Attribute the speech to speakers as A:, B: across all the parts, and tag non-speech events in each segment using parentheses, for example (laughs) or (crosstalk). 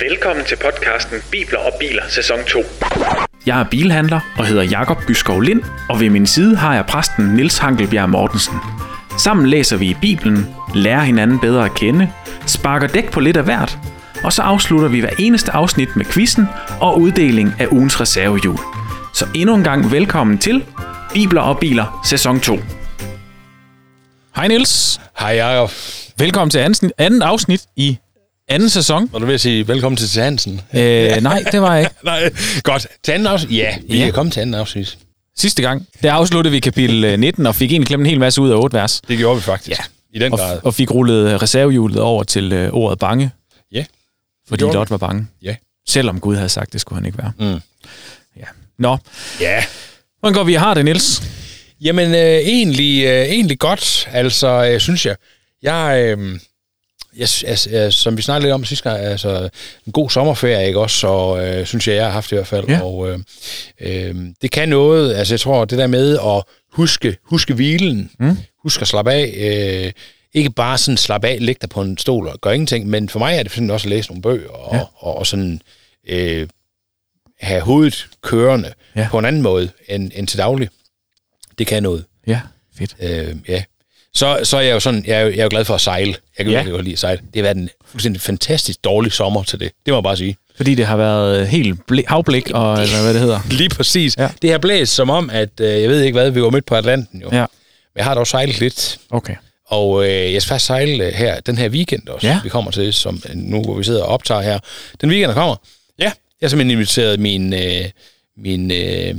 A: Velkommen til podcasten Bibler og Biler, sæson 2.
B: Jeg er bilhandler og hedder Jakob Byskov Lind, og ved min side har jeg præsten Nils Hankelbjerg Mortensen. Sammen læser vi i Bibelen, lærer hinanden bedre at kende, sparker dæk på lidt af hvert, og så afslutter vi hver eneste afsnit med quizzen og uddeling af ugens reservehjul. Så endnu en gang velkommen til Bibler og Biler sæson 2. Hej Nils,
C: Hej Jacob.
B: velkommen til anden, anden afsnit i anden sæson.
C: Var du ved at sige velkommen til til Hansen?
B: Øh, nej, det var jeg ikke.
C: Nej, godt. Til anden afsnit? Ja, vi
B: Ja.
C: er kommet til anden afsnit.
B: Sidste gang, der afsluttede vi kapitel øh, 19 og fik egentlig klemt en hel masse ud af otte vers.
C: Det gjorde vi faktisk.
B: Ja.
C: I den grad.
B: og, og fik rullet øh, reservehjulet over til øh, ordet bange,
C: Ja.
B: fordi
C: gjorde vi.
B: Lot var bange.
C: Ja.
B: Selvom Gud havde sagt, det skulle han ikke være. Mm. Ja. Nå,
C: Ja.
B: hvordan går vi har det, Nils?
C: Jamen, øh, egentlig, øh, egentlig godt, altså, øh, synes jeg. Jeg, øh, jeg, sy- altså, øh, som vi snakkede lidt om sidste gang, altså, en god sommerferie, ikke også, og øh, synes jeg, jeg har haft det i hvert fald.
B: Ja.
C: Og øh, øh, det kan noget, altså, jeg tror, det der med at huske, huske hvilen, mm. huske at slappe af, øh, ikke bare sådan slappe af, ligge dig på en stol og gøre ingenting, men for mig er det for eksempel også at læse nogle bøger, og, ja. og, og sådan... Øh, have hovedet kørende
B: Ja.
C: ja. på en anden måde end, end til daglig. Det kan noget.
B: Ja, fedt.
C: Øh, ja. Så, så er jeg jo sådan, jeg er jo, jeg er jo glad for at sejle. Jeg kan
B: Ja.
C: ja. godt lide at sejle. Det har været en fuldstændig fantastisk dårlig sommer til det. Det må jeg bare sige.
B: Fordi det har været øh, helt blæ- havblik, og, eller hvad det hedder.
C: (laughs) Lige præcis.
B: Ja.
C: Ja. Det har blæst som om, at øh, jeg ved ikke hvad, vi var midt på Atlanten jo.
B: Ja,
C: Men jeg har dog sejlet lidt,
B: okay.
C: og øh, jeg skal faktisk sejle øh, her den her weekend også.
B: Ja.
C: Vi kommer til det, som øh, nu hvor vi sidder og optager her. Den weekend, der kommer. Ja. Jeg har simpelthen inviteret min, øh, min, øh,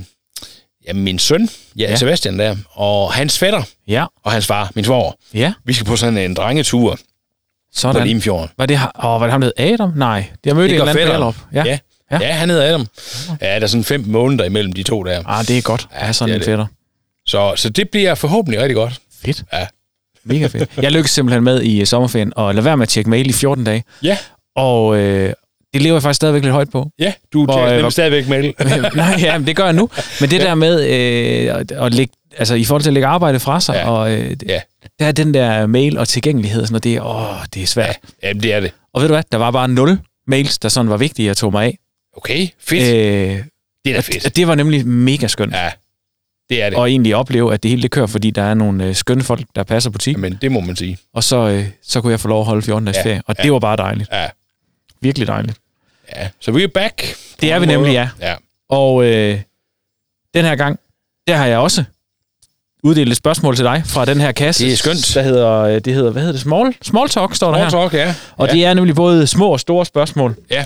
C: ja, min søn, ja,
B: Ja.
C: ja. Sebastian der, og hans fætter
B: Ja,
C: og hans far, min svoger.
B: ja,
C: Vi skal på sådan en drengetur på
B: sådan.
C: Limfjorden.
B: Var det, ha- åh, var det ham, der hed Adam? Nej, jeg mødte en eller anden på Ballerup.
C: Ja.
B: ja.
C: Ja.
B: Ja.
C: ja. ja, han hedder Adam. Ja, der er sådan fem måneder imellem de to der.
B: Ah, det er godt at have sådan
C: det
B: en
C: er
B: fætter.
C: det. Så, så det bliver forhåbentlig rigtig godt.
B: Fedt.
C: Ja.
B: Mega fedt. Jeg lykkedes simpelthen med i øh, sommerferien at lade være med at tjekke mail i 14 dage.
C: Ja,
B: Og øh, det lever jeg faktisk stadigvæk lidt højt på. (laughs)
C: ja. Du
B: Hvor,
C: tjekker
B: øh, hvor-
C: nemlig stadigvæk (laughs) mail.
B: Nej, ja, men det gør jeg nu. Men det der med øh, at- at lægge, altså i forhold til at lægge arbejde fra sig, ja.
C: Ja.
B: og øh, ja.
C: Ja.
B: der er den der mail og tilgængelighed, og sådan noget, det, er- åh, det er svært. Ja.
C: ja, det er det.
B: Og ved du hvad, der var bare nul mails, der sådan var vigtige, jeg tog mig af.
C: Okay, fedt. Øh,
B: Øh,
C: det er da fedt.
B: og det var nemlig mega skønt. Ja.
C: Ja, det er det.
B: Og egentlig opleve, at det hele det kører, fordi der er nogle øh, skønne folk, der passer butik.
C: Men det må man sige.
B: Og så, øh, så kunne jeg få lov at holde 14 dages ja.
C: Ja.
B: ferie. Og
C: Ja.
B: det var bare dejligt.
C: Ja,
B: Virkelig dejligt.
C: ja. Så vi er back.
B: Det er vi nemlig, ja.
C: Ja.
B: Og øh, den her gang, der har jeg også uddelt et spørgsmål til dig fra den her kasse.
C: Det er skønt.
B: Der hedder, øh, det hedder, hvad hedder det? Small, small talk, står der her.
C: Small talk, ja.
B: Og
C: ja.
B: det er nemlig både små og store spørgsmål.
C: Ja.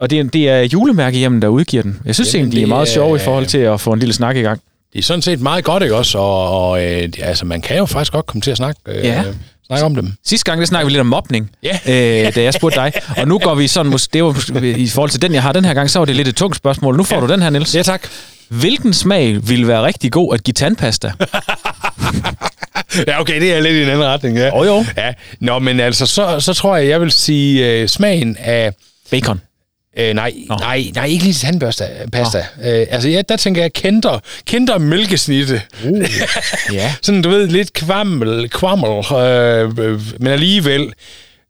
B: Og det er, det er julemærkehjemmen, der udgiver den. Jeg synes
C: Jamen,
B: egentlig, de er
C: det
B: meget
C: er-
B: sjove i forhold til at få en lille snak i gang.
C: det er sådan set meget godt, ikke også? Og, og øh, det- altså, man kan jo faktisk godt komme til at snakke, øh,
B: Ja.
C: snakke om dem.
B: Sidste gang, der snakkede vi lidt om mobning,
C: Ja.
B: øh, da jeg spurgte dig. Og nu går vi sådan, mås- det var mås- i forhold til den, jeg har den her gang, så var det lidt et tungt spørgsmål. Nu får ja. du den her, Niels.
C: Ja, tak.
B: Hvilken smag ville være rigtig god at give tandpasta?
C: Ja, okay, det er lidt i en anden retning, ja.
B: Jo, jo.
C: Ja. Nå, men altså, så, så tror jeg, jeg vil sige øh, smagen af...
B: Bacon.
C: Øh, nej, nej, nej, ikke lige tandbørste pasta. Øh, altså, ja, der tænker jeg kinder, kinder mælkesnitte. Uh.
B: Ja.
C: (laughs) Sådan, du ved, lidt kvammel, kvammel, øh, øh, men alligevel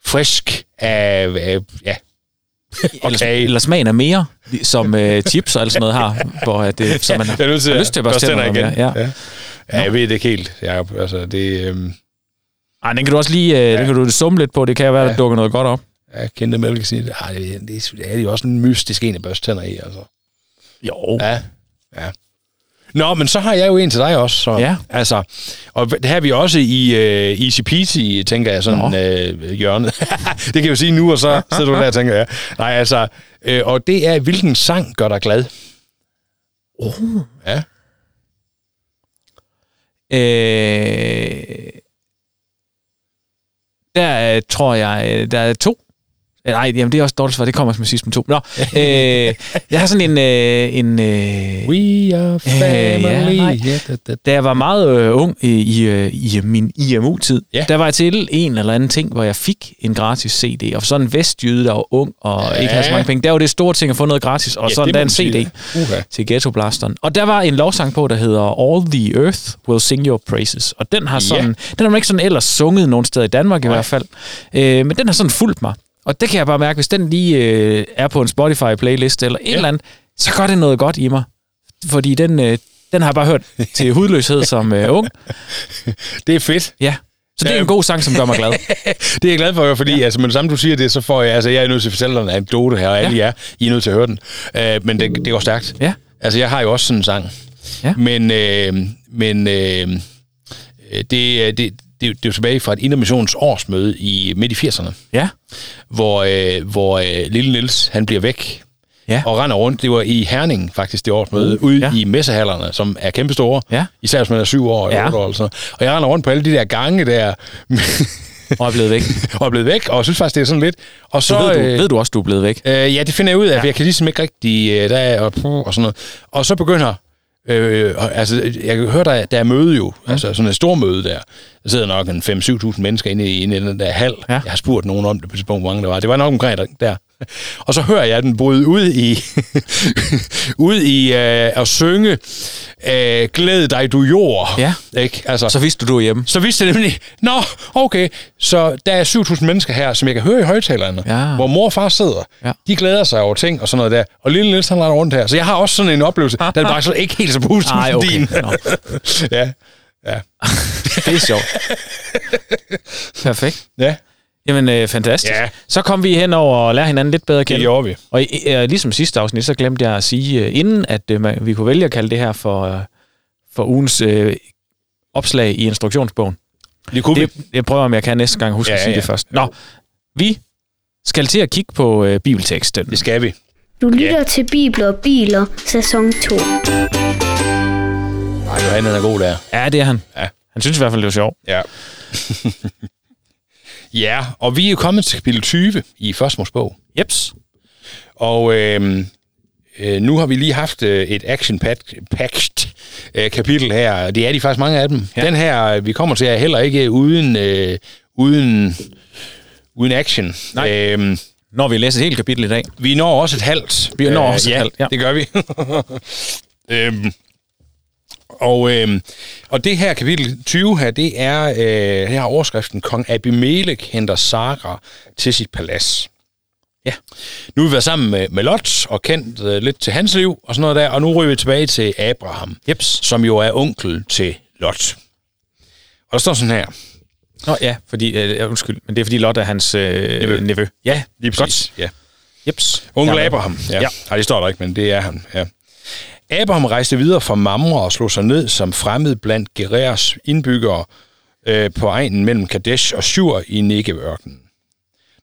C: frisk af, øh,
B: (laughs)
C: ja,
B: Eller,
C: Okay.
B: eller smagen er mere, som øh, chips og alt sådan noget har, hvor at, øh, som man
C: Jeg er nødt til,
B: har
C: at-
B: lyst til at børste tænder
C: igen.
B: med. Ja.
C: Ja. ja, jeg ved det ikke helt, Jacob. Altså, det øh,
B: Ej, den kan du også lige øh, den kan du summe lidt på. Det kan jo være, at der dukker noget godt op.
C: er kendte mælkesnit. Ej, ah, det, det, det, er jo også en mystisk en at børste tænder i, altså.
B: Jo.
C: Ja, ja. Nå, men så har jeg jo en til dig også. Så,
B: Ja.
C: Altså, og det har vi også i øh, Easy Peasy, tænker jeg, sådan øh, hjørnet. (laughs) det kan jeg jo sige nu, og så (laughs) sidder du der og tænker, ja. Nej, altså, øh, og det er, hvilken sang gør dig glad? Oh. Ja.
B: Øh, der øh, tror jeg, øh, der er to. Eh, Nej, jamen, det er også et dårligt svar. Det kommer som sidst med to. Nå, øh, jeg har sådan en... Øh, en øh,
C: We are
B: Øh,
C: family.
B: ja, nej.
C: ja, da, da.
B: Da jeg var meget øh, ung i, i, øh, i min IMU-tid,
C: Ja.
B: der var jeg til en eller anden ting, hvor jeg fik en gratis CD. Og for sådan en vestjyde, der var ung og ja.
C: Ja.
B: ikke havde så mange penge, der var det store ting at få noget gratis. Og ja,
C: Ja,
B: sådan
C: det
B: der
C: må
B: en
C: man sige.
B: CD
C: Uha.
B: til Ghetto Blasteren. Og der var en lovsang på, der hedder All the Earth Will Sing Your Praises. Og den har sådan, den har man ikke sådan ellers sunget nogen steder i Danmark i hvert fald. Øh, men den har sådan fulgt mig. Og det kan jeg bare mærke, hvis den lige øh, er på en Spotify-playlist eller et ja. eller andet, så gør det noget godt i mig. Fordi den, øh, den har jeg bare hørt (laughs) til hudløshed som øh, ung.
C: Det er fedt.
B: Ja. Så det er en god sang, som gør (laughs) mig glad.
C: Det er jeg glad for, jo, fordi ja. altså, men det samme du siger det, så får jeg, altså jeg er nødt til at fortælle dig en anekdote her, og alle jer, I er nødt til at høre den. Øh, men det, det går stærkt.
B: Ja.
C: Altså, jeg har jo også sådan en sang.
B: Ja.
C: Men, øh, men øh, øh, det, det, det, det er jo- det er jo tilbage fra et intermissions årsmøde i midt i 80'erne,
B: Ja.
C: hvor, øh, hvor øh, Lille Nils han bliver væk
B: Ja. Uh,
C: og render rundt. Det var i Herning faktisk, det årsmøde, ude
B: ja.
C: ja. i messehallerne, som er kæmpestore.
B: Ja.
C: Især hvis man er syv år eller
B: Ja.
C: ja. otte år. Eller sådan. noget. Og jeg render rundt på alle de der gange der, (laughs)
B: Og er blevet væk.
C: og er blevet væk, og jeg synes faktisk, det er sådan lidt. Og
B: Du
C: så,
B: ved, du,
C: øh,
B: ved du også, du er blevet væk?
C: Øh, ja, det finder jeg ud af, ja. for jeg kan ligesom ikke rigtig... Øh, der er, og, puh, og sådan noget. Og så begynder... Øh, og, altså, jeg kan høre, der, er- der er møde jo. Ja. Altså, sådan et stor møde der. Der sidder nok en 5-7.000 mennesker inde i, inde i den der hal.
B: Ja.
C: Ja. Jeg har spurgt nogen om det på et tidspunkt, hvor mange der var. Det var nok omkring der. der. Og så hører jeg den bryde ud i, (laughs) ud i øh, at synge øh, Glæd dig, du jord.
B: Ja.
C: Ikke? Altså,
B: Så vidste du, du er hjemme.
C: så vidste jeg nemlig, nå, okay, så der er 7.000 mennesker her, som jeg kan høre i højtalerne,
B: Ja.
C: hvor mor og far sidder.
B: Ja.
C: De glæder sig over ting og sådan noget der. Og lille Niels, han render rundt her. Så jeg har også sådan en oplevelse, den var så ikke helt så positiv
B: Nej,
C: som
B: okay.
C: din.
B: Nå,
C: ja, ja,
B: det er (laughs) sjovt. Perfekt.
C: ja,
B: Jamen, øh, fantastisk.
C: Ja.
B: Så kom vi hen over og lærer hinanden lidt bedre at
C: det
B: kende.
C: gjorde vi.
B: Og i- øh, ligesom sidste afsnit, så glemte jeg at sige, øh, inden at øh, man- vi kunne vælge at kalde det her for, øh, for ugens øh, opslag i instruktionsbogen.
C: Det kunne det, vi.
B: Det, jeg prøver, om jeg kan næste gang huske ja,
C: Ja,
B: at sige ja.
C: ja.
B: det først. Nå, vi skal til at kigge på øh, bibelteksten.
C: Det skal vi.
D: Du lytter yeah. til Bibler og Biler, sæson 2.
C: Nej, Johan han er god der.
B: Ja, det er han.
C: Ja.
B: Han synes i hvert fald, det var sjovt.
C: Ja. (laughs) ja, og vi er jo kommet til kapitel 20 i Første Mos bog.
B: Jeps.
C: Og øh, øh, nu har vi lige haft øh, et action-packed øh, kapitel her, og det er de faktisk mange af dem. Ja. Den her, øh, vi kommer til, er heller ikke uden, øh, uden, uden action.
B: Nej.
C: Øhm,
B: Når vi læser et helt kapitel i dag.
C: vi når også et halvt. Øh,
B: Vi når også et
C: ja,
B: halvt, ja.
C: det gør vi. (laughs) øhm, og, øhm, og det her kapitel 20 her, det er, øh, det har overskriften, Kong Abimelech henter Sara til sit palads.
B: Ja.
C: Nu har vi været sammen med, med Lot og kendt øh, lidt til hans liv og sådan noget der, og nu ryger vi tilbage til Abraham,
B: Jeps.
C: som jo er onkel til Lot. Og der står sådan her.
B: Nå ja, fordi, øh, ja, undskyld, men det er fordi Lotte er hans øh,
C: Nevø.
B: nevø. Ja,
C: Lige Godt. Ja.
B: jeps.
C: Onkel
B: Ja,
C: Abraham. Ja.
B: Ja.
C: ja. Nej, det står der ikke, men det er han. Ja. Abraham rejste videre fra Mamre og slog sig ned som fremmed blandt Gerers indbyggere øh, på egnen mellem Kadesh og Shur i Negev-ørkenen.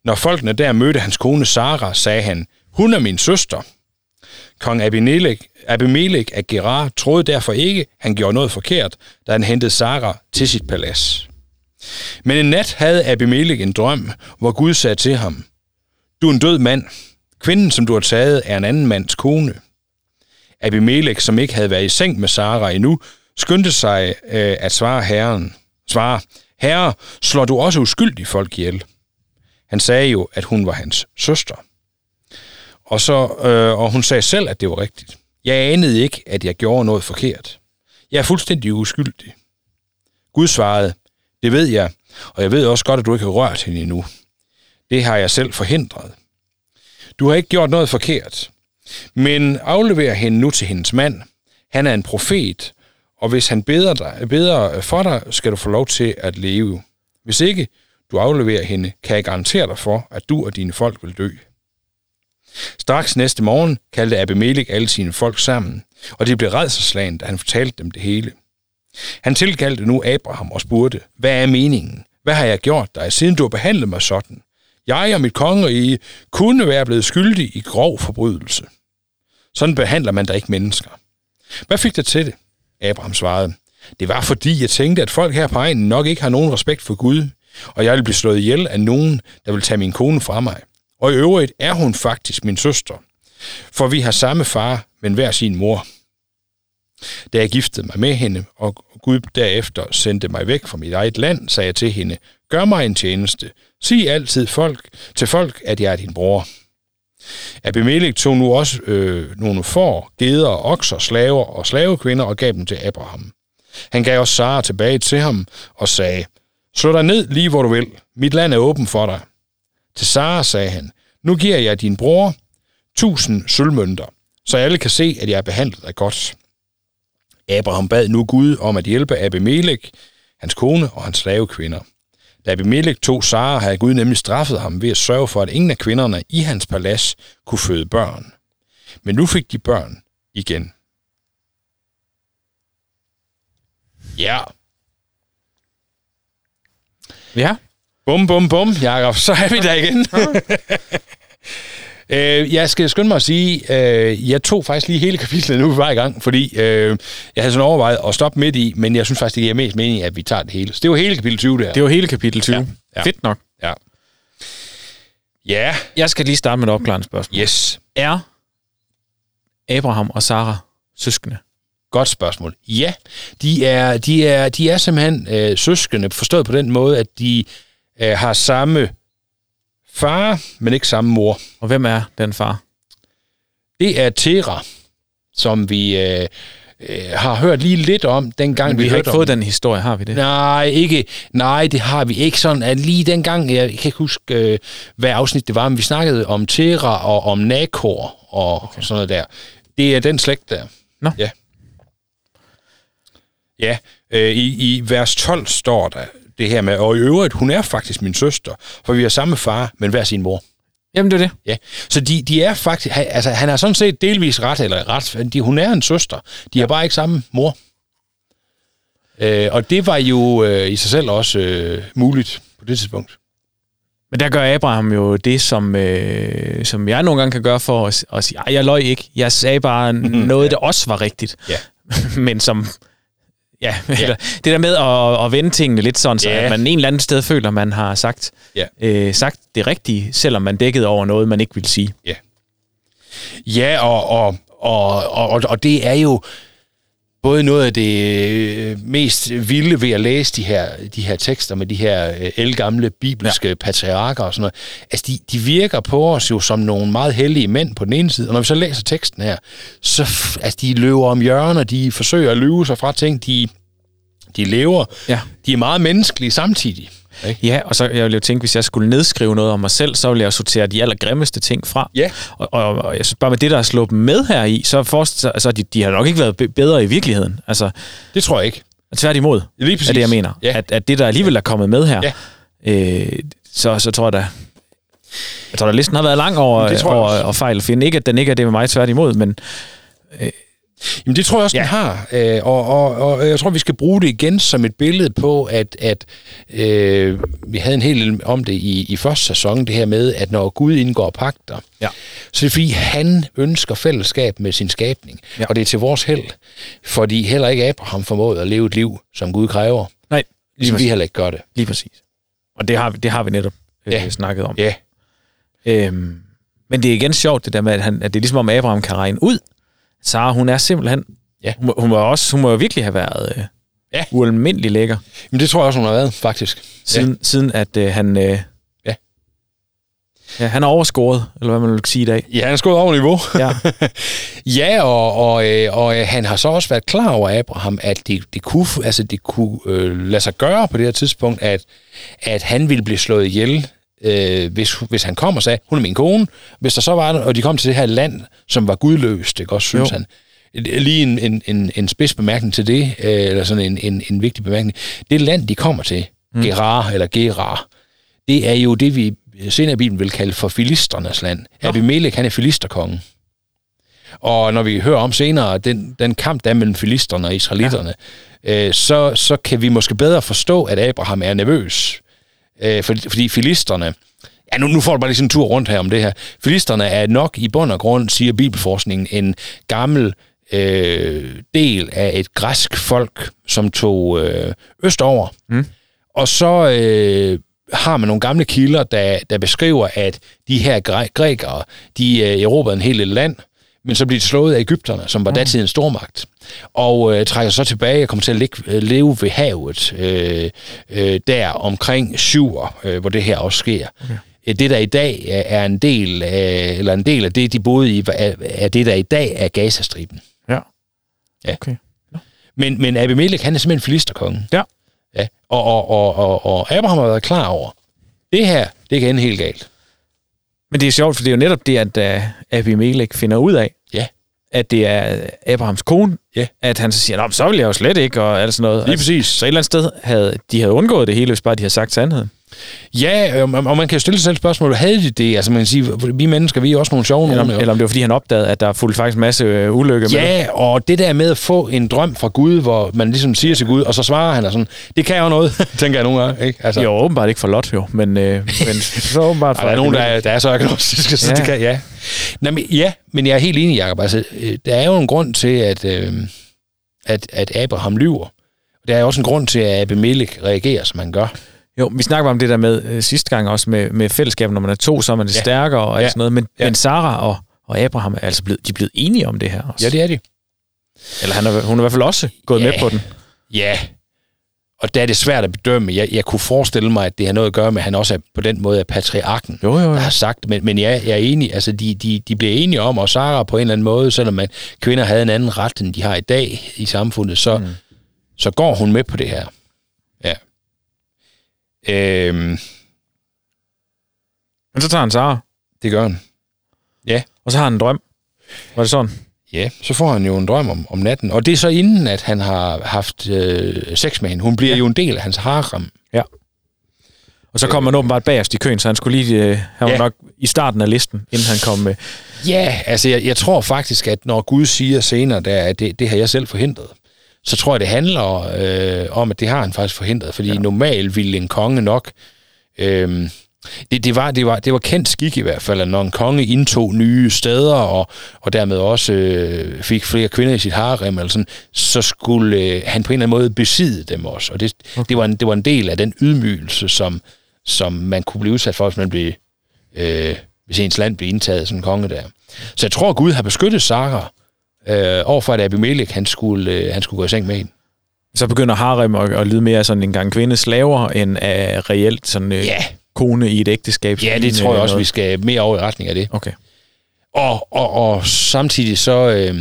C: Når folkene der mødte hans kone Sara, sagde han, hun er min søster. Kong Abimelech, Abimelech af Gerar troede derfor ikke, han gjorde noget forkert, da han hentede Sara til sit palads. Men en nat havde Abimelech en drøm, hvor Gud sagde til ham, du er en død mand. Kvinden, som du har taget, er en anden mands kone. Abimelech, som ikke havde været i seng med Sara endnu, skyndte sig øh, at svare herren. Svare, herre, slår du også uskyldige folk ihjel? Han sagde jo, at hun var hans søster. Og, så, øh, og hun sagde selv, at det var rigtigt. Jeg anede ikke, at jeg gjorde noget forkert. Jeg er fuldstændig uskyldig. Gud svarede, det ved jeg, og jeg ved også godt, at du ikke har rørt hende endnu. Det har jeg selv forhindret. Du har ikke gjort noget forkert, men aflever hende nu til hendes mand. Han er en profet, og hvis han beder, dig, beder for dig, skal du få lov til at leve. Hvis ikke du afleverer hende, kan jeg garantere dig for, at du og dine folk vil dø. Straks næste morgen kaldte Abimelech alle sine folk sammen, og de blev redselslagen, da han fortalte dem det hele. Han tilkaldte nu Abraham og spurgte, hvad er meningen? Hvad har jeg gjort dig, siden du har behandlet mig sådan? Jeg og mit kongerige kunne være blevet skyldige i grov forbrydelse. Sådan behandler man da ikke mennesker. Hvad fik dig til det? Abraham svarede. Det var fordi, jeg tænkte, at folk her på egnen nok ikke har nogen respekt for Gud, og jeg vil blive slået ihjel af nogen, der vil tage min kone fra mig. Og i øvrigt er hun faktisk min søster, for vi har samme far, men hver sin mor. Da jeg giftede mig med hende, og Gud derefter sendte mig væk fra mit eget land, sagde jeg til hende, gør mig en tjeneste. Sig altid folk, til folk, at jeg er din bror. Abimelech tog nu også øh, nogle får, geder, okser, slaver og slavekvinder og gav dem til Abraham. Han gav også Sara tilbage til ham og sagde, Slå dig ned lige hvor du vil. Mit land er åben for dig. Til Sara sagde han, nu giver jeg din bror 1000 sølvmønter, så alle kan se, at jeg har behandlet dig godt. Abraham bad nu Gud om at hjælpe Abimelech, hans kone og hans slavekvinder. Da Abimelech tog Sara, havde Gud nemlig straffet ham ved at sørge for, at ingen af kvinderne i hans palads kunne føde børn. Men nu fik de børn igen. Ja.
B: Ja.
C: Bum, bum, bum, Jakob. Så er vi der igen. (laughs) Øh, jeg skal skynde mig at sige, øh, jeg tog faktisk lige hele kapitlet nu, vi var i gang, fordi øh, jeg havde sådan overvejet at stoppe midt i, men jeg synes faktisk, det giver mest mening, at vi tager det hele. Så det var hele kapitel 20 der.
B: Det var hele kapitel 20.
C: Ja,
B: Ja,
C: ja.
B: ja. Fedt nok.
C: Ja. Ja,
B: Jeg skal lige starte med et opklarende spørgsmål.
C: yes.
B: Er Abraham og Sara søskende?
C: Godt spørgsmål. Ja, de er, de er, de er simpelthen øh, søskende, forstået på den måde, at de øh, har samme far, men ikke samme mor.
B: Og hvem er den far?
C: Det er Tera, som vi øh, øh, har hørt lige lidt om, dengang
B: Men
C: vi,
B: vi har
C: hørte
B: ikke
C: om
B: fået den historie, har vi det?
C: Nej, ikke. Nej, det har vi ikke sådan. At lige dengang, jeg kan ikke huske, øh, hvad afsnit det var, men vi snakkede om Tera og om Nakor og okay. sådan noget der. Det er den slægt der.
B: Nå.
C: Ja. Ja, øh, i, i vers 12 står der det her med, og i øvrigt, hun er faktisk min søster, for vi har samme far, men hver sin mor.
B: Jamen, det er det.
C: Ja, så de, de er faktisk, han- altså han har sådan set delvis ret, eller ret, de, hun er en søster, de ja. har bare ikke samme mor. Øh, og det var jo øh, i sig selv også øh, muligt på det tidspunkt.
B: Men der gør Abraham jo det, som, øh, som jeg nogle gange kan gøre for at, at sige, ej, jeg løj ikke. Jeg sagde
C: (laughs)
B: bare noget, der også var rigtigt.
C: Ja.
B: (laughs) Men som... Ja, eller, det der med at, at vende tingene lidt sådan, så
C: Ja.
B: at man en eller anden sted føler, man har sagt,
C: Ja.
B: øh, sagt det rigtige, selvom man dækkede over noget, man ikke ville sige.
C: Ja, og, og, og, og, og, og det er jo både noget af det øh, mest vilde ved at læse de her, de her tekster med de her øh, elgamle bibelske ja. patriarker og sådan noget. Altså, de, de virker på os jo som nogle meget hellige mænd på den ene side, og når vi så læser teksten her, så f- altså, de løber om hjørner, de forsøger at løbe sig fra ting, de, de lever.
B: Ja.
C: De er meget menneskelige samtidig. Ikke?
B: Ja, og så jeg ville jo tænke, hvis jeg skulle nedskrive noget om mig selv, så ville jeg jo sortere de allergrimmeste ting fra.
C: Ja.
B: Og, og, og jeg synes bare med det, der er sluppet med her i, så, for, så, så de, de har nok ikke været be- bedre i virkeligheden. Altså,
C: Det tror jeg ikke.
B: tværtimod
C: Lige præcis.
B: er det, jeg mener.
C: Ja.
B: At, at det, der alligevel er kommet med her, øh, så, så tror jeg da... Jeg tror da, listen har været lang over,
C: Det tror jeg også.
B: over og fejl at finde. Ikke, at den ikke er det med mig tværtimod, men
C: Jamen det tror jeg også, ja. den har, øh, og, og, og jeg tror, vi skal bruge det igen som et billede på, at, at øh, vi havde en hel del om det i, i første sæson, det her med, at når Gud indgår pagter,
B: Ja.
C: så er det fordi, han ønsker fællesskab med sin skabning, ja.
B: Ja.
C: og det er til vores held, fordi heller ikke Abraham formåede at leve et liv, som Gud kræver,
B: nej, lige,
C: ligesom vi
B: præcis,
C: heller ikke gør det.
B: lige præcis. Og det har, vi- det har vi netop øh,
C: Ja.
B: snakket om.
C: Ja,
B: Øhm, men det er igen sjovt, det der med, at, han, at det er ligesom om Abraham kan regne ud. Sara, hun er simpelthen...
C: Ja.
B: Hun, må- hun, må også, hun må jo virkelig have været øh,
C: Ja.
B: ja. ualmindelig lækker,
C: men det tror jeg også, hun har været, faktisk.
B: siden, ja. siden at øh, han... Øh,
C: Ja.
B: ja. han er overscoret, eller hvad man vil sige i dag.
C: Ja, han er skudt over niveau.
B: Ja.
C: (laughs) Ja, og, og, øh, og øh, han har så også været klar over Abraham, at det, det kunne, altså det kunne øh, lade sig gøre på det her tidspunkt, at, at han ville blive slået ihjel, øh, hvis, hvis han kom og sagde, hun er min kone. Hvis der så var, og de kom til det her land, som var gudløst, ikke også, synes jo.
B: Jo.
C: han. Lige en, en, en, en spids bemærkning til det, øh, eller sådan en, en, en vigtig bemærkning. Det land, de kommer til, mm. Gerar eller Gerar, det er jo det, vi senere i Bibelen vil kalde for filisternes land. Abimelech, han er filisterkongen. Og når vi hører om senere den, den kamp, der er mellem filisterne og israelitterne, ja. øh, så, så kan vi måske bedre forstå, at Abraham er nervøs. Øh, fordi, fordi filisterne... Ja, nu, nu får du bare lige sådan en tur rundt her om det her. Filisterne er nok i bund og grund, siger bibelforskningen, en gammel øh, del af et græsk folk, som tog øh, østover. Mm. Og så øh, har man nogle gamle kilder, der, der beskriver, at de her græ- grækere, de øh, erobrede en hel lille land, men så bliver de slået af Ægypterne, som
B: Mm.
C: var datidens stormagt, og øh, trækker sig så tilbage og kommer til at ligge, øh, leve ved havet, øh, øh, der omkring Syver, øh, hvor det her også sker. Okay. Det, der i dag er er en del af, eller en del af det, de boede i, er, er det, der i dag er Gazastriben.
B: ja.
C: Ja.
B: Okay.
C: Men, men Abimelech, han er simpelthen filisterkongen.
B: Ja.
C: ja. Og, og, og, og, og Abraham har været klar over, det her, det kan ende helt galt.
B: Men det er sjovt, for det er jo netop det, at uh, Abimelech finder ud af,
C: Ja.
B: at det er Abrahams kone,
C: Ja.
B: at han så siger, Nå, men så vil jeg jo slet ikke, og alt sådan noget. Altså,
C: Lige præcis.
B: Så et eller andet sted havde de havde undgået det hele, hvis bare de havde sagt sandheden.
C: Ja, øhm, og man kan jo stille sig selv spørgsmålet, havde de det? Altså man kan sige, vi mennesker, vi er også nogle sjove
B: Eller, om,
C: nogle. jo.
B: eller om det var, fordi han opdagede, at der fulgte faktisk en masse øh, ulykke med.
C: Ja, og det der med at få en drøm fra Gud, hvor man ligesom siger til Gud, og så svarer han og sådan, det kan jo noget, (laughs) tænker jeg nogle gange. Ikke? Altså,
B: Jo, åbenbart ikke for Lot, jo. Men, øh,
C: (laughs)
B: men så åbenbart
C: Og
B: for
C: der er nogen, der
B: Abimelech.
C: er, der er så agnostiske, så
B: Ja.
C: ja. det kan, ja. Nå, men, ja, men jeg er helt enig, Jacob. Altså, øh, der er jo en grund til, at, øh, at, at Abraham lyver. Der er også en grund til, at Abimelech reagerer, som han gør.
B: Jo, vi snakker om det der med øh, sidste gang også med, med fællesskab, når man er to, så er man det ja.
C: Ja.
B: stærkere og alt
C: Ja.
B: sådan noget. Men, ja.
C: Ja.
B: men Sara og, og Abraham er altså blevet, de er blevet enige om det her også.
C: Ja, det er det.
B: Eller han er, hun er i hvert fald også gået
C: Ja.
B: med på den.
C: Ja, og der er det svært at bedømme. Jeg, jeg kunne forestille mig, at det har noget at gøre med, at han også er, på den måde er patriarken.
B: Jo, jo,
C: der har sagt, men, men ja, jeg er enig, altså de, de, de blev enige om, og Sara på en eller anden måde, selvom man, kvinder havde en anden ret, end de har i dag i samfundet, så, mm. så går hun med på det her. Ja. Øhm,
B: Men så tager han Sara,
C: det gør han.
B: og så har han en drøm. Var det sådan?
C: Ja, så får han jo en drøm om, om natten, og det er så inden, at han har haft øh, sex med hende. Hun bliver ja. jo en del af hans harem.
B: Og så kom han åbenbart bagerst i køen, så han skulle lige... Øh, han var
C: Ja.
B: nok i starten af listen, inden han kom øh. med.
C: Ja, altså jeg, jeg tror faktisk, at når Gud siger senere, der, at det, det har jeg selv forhindret, så tror jeg, det handler øh, om, at det har han faktisk forhindret, fordi ja. normalt ville en konge nok... Øh, det, det, var, det, var, det var kendt skik i hvert fald, at når en konge indtog nye steder, og, og dermed også øh, fik flere kvinder i sit harem, eller sådan, så skulle øh, han på en eller anden måde besidde dem også. Og det, okay. det, var en, det var en del af den ydmygelse, som, som man kunne blive udsat for, hvis man blev øh, hvis ens land blev indtaget som konge der. Så jeg tror, Gud har beskyttet Sara øh, overfor, at Abimelech han skulle, øh, han skulle gå i seng med hende.
B: Så begynder harem at, at lyde mere sådan en gang kvindes slaver, end af reelt sådan øh,
C: Ja.
B: kone i et ægteskab.
C: Ja, det
B: Lignende
C: tror jeg også, vi
B: noget.
C: skal mere over i retning af det.
B: Okay.
C: Og, og, og samtidig så... Øh,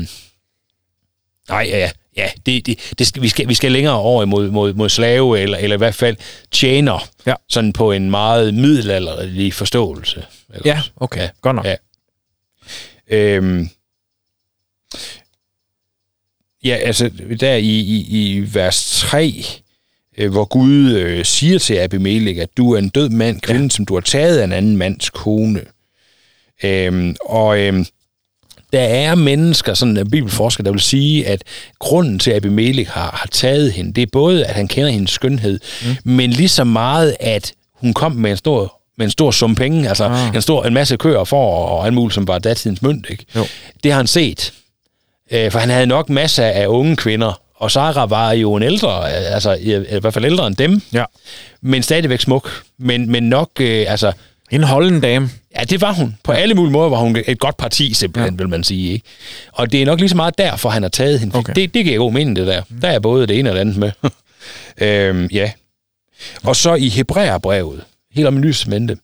C: nej, ja, ja det, det, det, skal- vi, skal, vi skal længere over mod, mod, mod slave, eller, eller i hvert fald tjener,
B: Ja.
C: sådan på en meget middelalderlig forståelse. Ellers.
B: Ja, okay. Ja.
C: Ja.
B: Godt nok. Ja.
C: Ja. Øhm, ja, altså der i, i, i vers 3, øh, hvor Gud øh, siger til Abimelech, at du er en død mand, kvinden, ja. som du har taget af en anden mands kone. Øhm, og øhm, der er mennesker, sådan en bibelforsker, der vil sige, at grunden til, at Abimelech har, har taget hende, det er både, at han kender hendes skønhed, mm. men lige så meget, at hun kom med en stor med en stor sum penge, altså ah. en, stor, en masse køer for, og, og alt muligt, som var datidens mønt. Ikke?
B: Jo.
C: Det har han set. Øh, for han havde nok masser af unge kvinder, og Sara var jo en ældre, øh, altså i, i hvert fald ældre end dem,
B: ja.
C: men stadigvæk smuk. Men, men nok, øh, altså,
B: En holden dame.
C: Ja, det var hun. På alle mulige måder var hun et godt parti, simpelthen, ja. vil man sige. Ikke? Og det er nok lige så meget derfor, han har taget hende.
B: Okay.
C: Okay. Mm. Det, det giver god mening, det der. Der er både det ene og det andet med. (laughs) øhm, ja. Og så i Hebræerbrevet, helt om en ny cemente,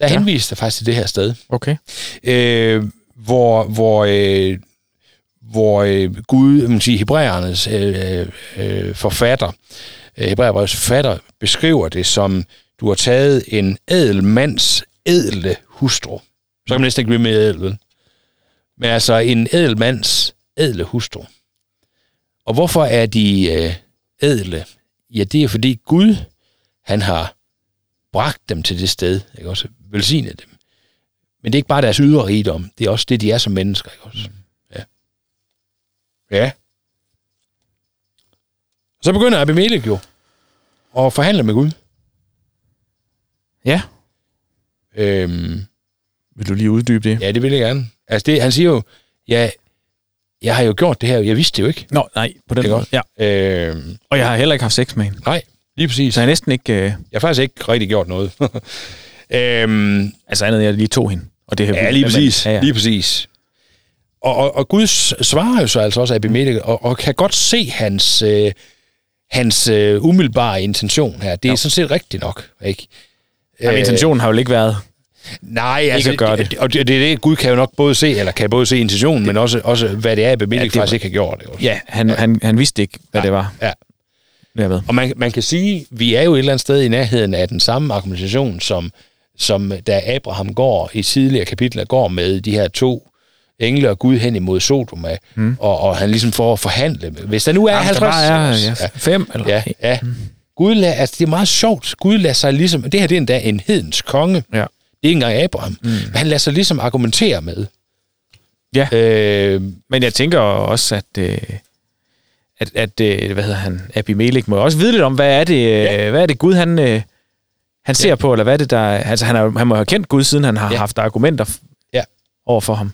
C: der ja. henviste der faktisk til det her sted,
B: Okay.
C: øh, hvor, hvor, øh, hvor øh, Gud, man siger, Hebræernes øh, øh, forfatter, øh, Hebræerbrevets forfatter, beskriver det som, du har taget en ædel mands ædle hustru. Så kan man næsten ikke blive mere ædel. vel? Men altså en ædel mands ædle hustru. Og hvorfor er de øh, ædle? Ja, det er fordi Gud, han har bragt dem til det sted, ikke også? Velsignet dem. Men det er ikke bare deres ydre rigdom, det er også det, de er som mennesker, ikke også? Ja. Ja. Så begynder Abimelech jo at forhandle med Gud.
B: Ja.
C: Øhm,
B: Vil du lige uddybe det?
C: ja, det vil jeg gerne. Altså, det, han siger jo, ja, jeg har jo gjort det her, jeg vidste det jo ikke.
B: Nå, nej, på den
C: Det er
B: måde.
C: godt.
B: Ja.
C: Øhm,
B: Og jeg har heller ikke haft sex med hende.
C: nej, lige præcis.
B: Så jeg har næsten ikke... Øh,
C: Jeg har faktisk ikke rigtig gjort noget. (laughs) øhm,
B: altså andet, end jeg lige tog hende. Og det her
C: Ja, lige præcis.
B: Ja, ja.
C: Lige præcis. Og, og, og Gud s- svarer jo så altså også Abimelech, og, og kan godt se hans, øh, hans øh, umiddelbare intention her. Det er jo. sådan set rigtigt nok, ikke? Øh,
B: Jamen, intentionen har jo ikke været...
C: Nej, altså,
B: at gøre det.
C: Og det, det, er det, Gud kan jo nok både se, eller kan både se intentionen, men også, også hvad det er, Abimelech
B: Ja,
C: ja,
B: det
C: faktisk
B: var-
C: ikke har gjort. Ikke?
B: Ja, han, han, han vidste ikke, hvad det var.
C: ja.
B: Jeg ved.
C: Og man, man kan sige, vi er jo et eller andet sted i nærheden af den samme argumentation, som, som da Abraham går i tidligere kapitler, går med de her to engle og Gud hen imod Sodoma, mm. og, og han ligesom får at forhandle. med- Hvis der nu er
B: Jamen, der
C: 50...
B: bare er ja, Mm. fem eller
C: Ja, ja. Gud lader, altså, det er meget sjovt. Gud lader sig ligesom... Det her det er endda en hedens konge.
B: Ja.
C: Det er ikke engang Abraham. Mm. Men han lader sig ligesom argumentere med.
B: Ja.
C: Øh,
B: Men jeg tænker også, at, øh, at, at øh, hvad hedder han, Abimelech må jo også vide lidt om, hvad er det, ja. hvad er det Gud, han, øh, han ser på, eller hvad er det, der... Altså, han, er, han må have kendt Gud, siden han har ja.
C: Ja.
B: haft argumenter f-
C: Ja.
B: over for ham.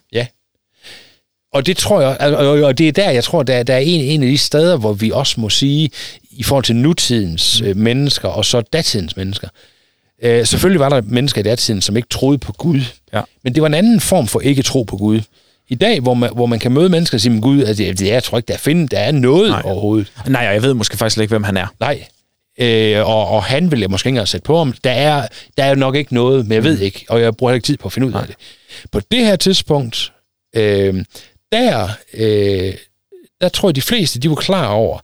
C: og det tror jeg... altså, Og, og det er der, jeg tror, der, der er en, en af de steder, hvor vi også må sige, i forhold til nutidens mm. mennesker, og så datidens mennesker. Øh, selvfølgelig var der mennesker i datiden, som ikke troede på Gud.
B: Ja.
C: Men det var en anden form for ikke tro på Gud. I dag, hvor man, hvor man kan møde mennesker og sige, "Men Gud, altså, jeg, jeg tror ikke, der er, find, der er noget
B: Nej.
C: Nej. overhovedet.
B: Nej, og jeg ved måske faktisk slet ikke, hvem han er.
C: Nej. Øh, og, og han ville jeg måske ikke engang sætte på ham. Der er, der er jo nok ikke noget, men jeg
B: Mm.
C: ved ikke, og jeg bruger heller ikke tid på at finde ud af det. På det her tidspunkt, øh, der, øh, der tror jeg, de fleste de var klar over,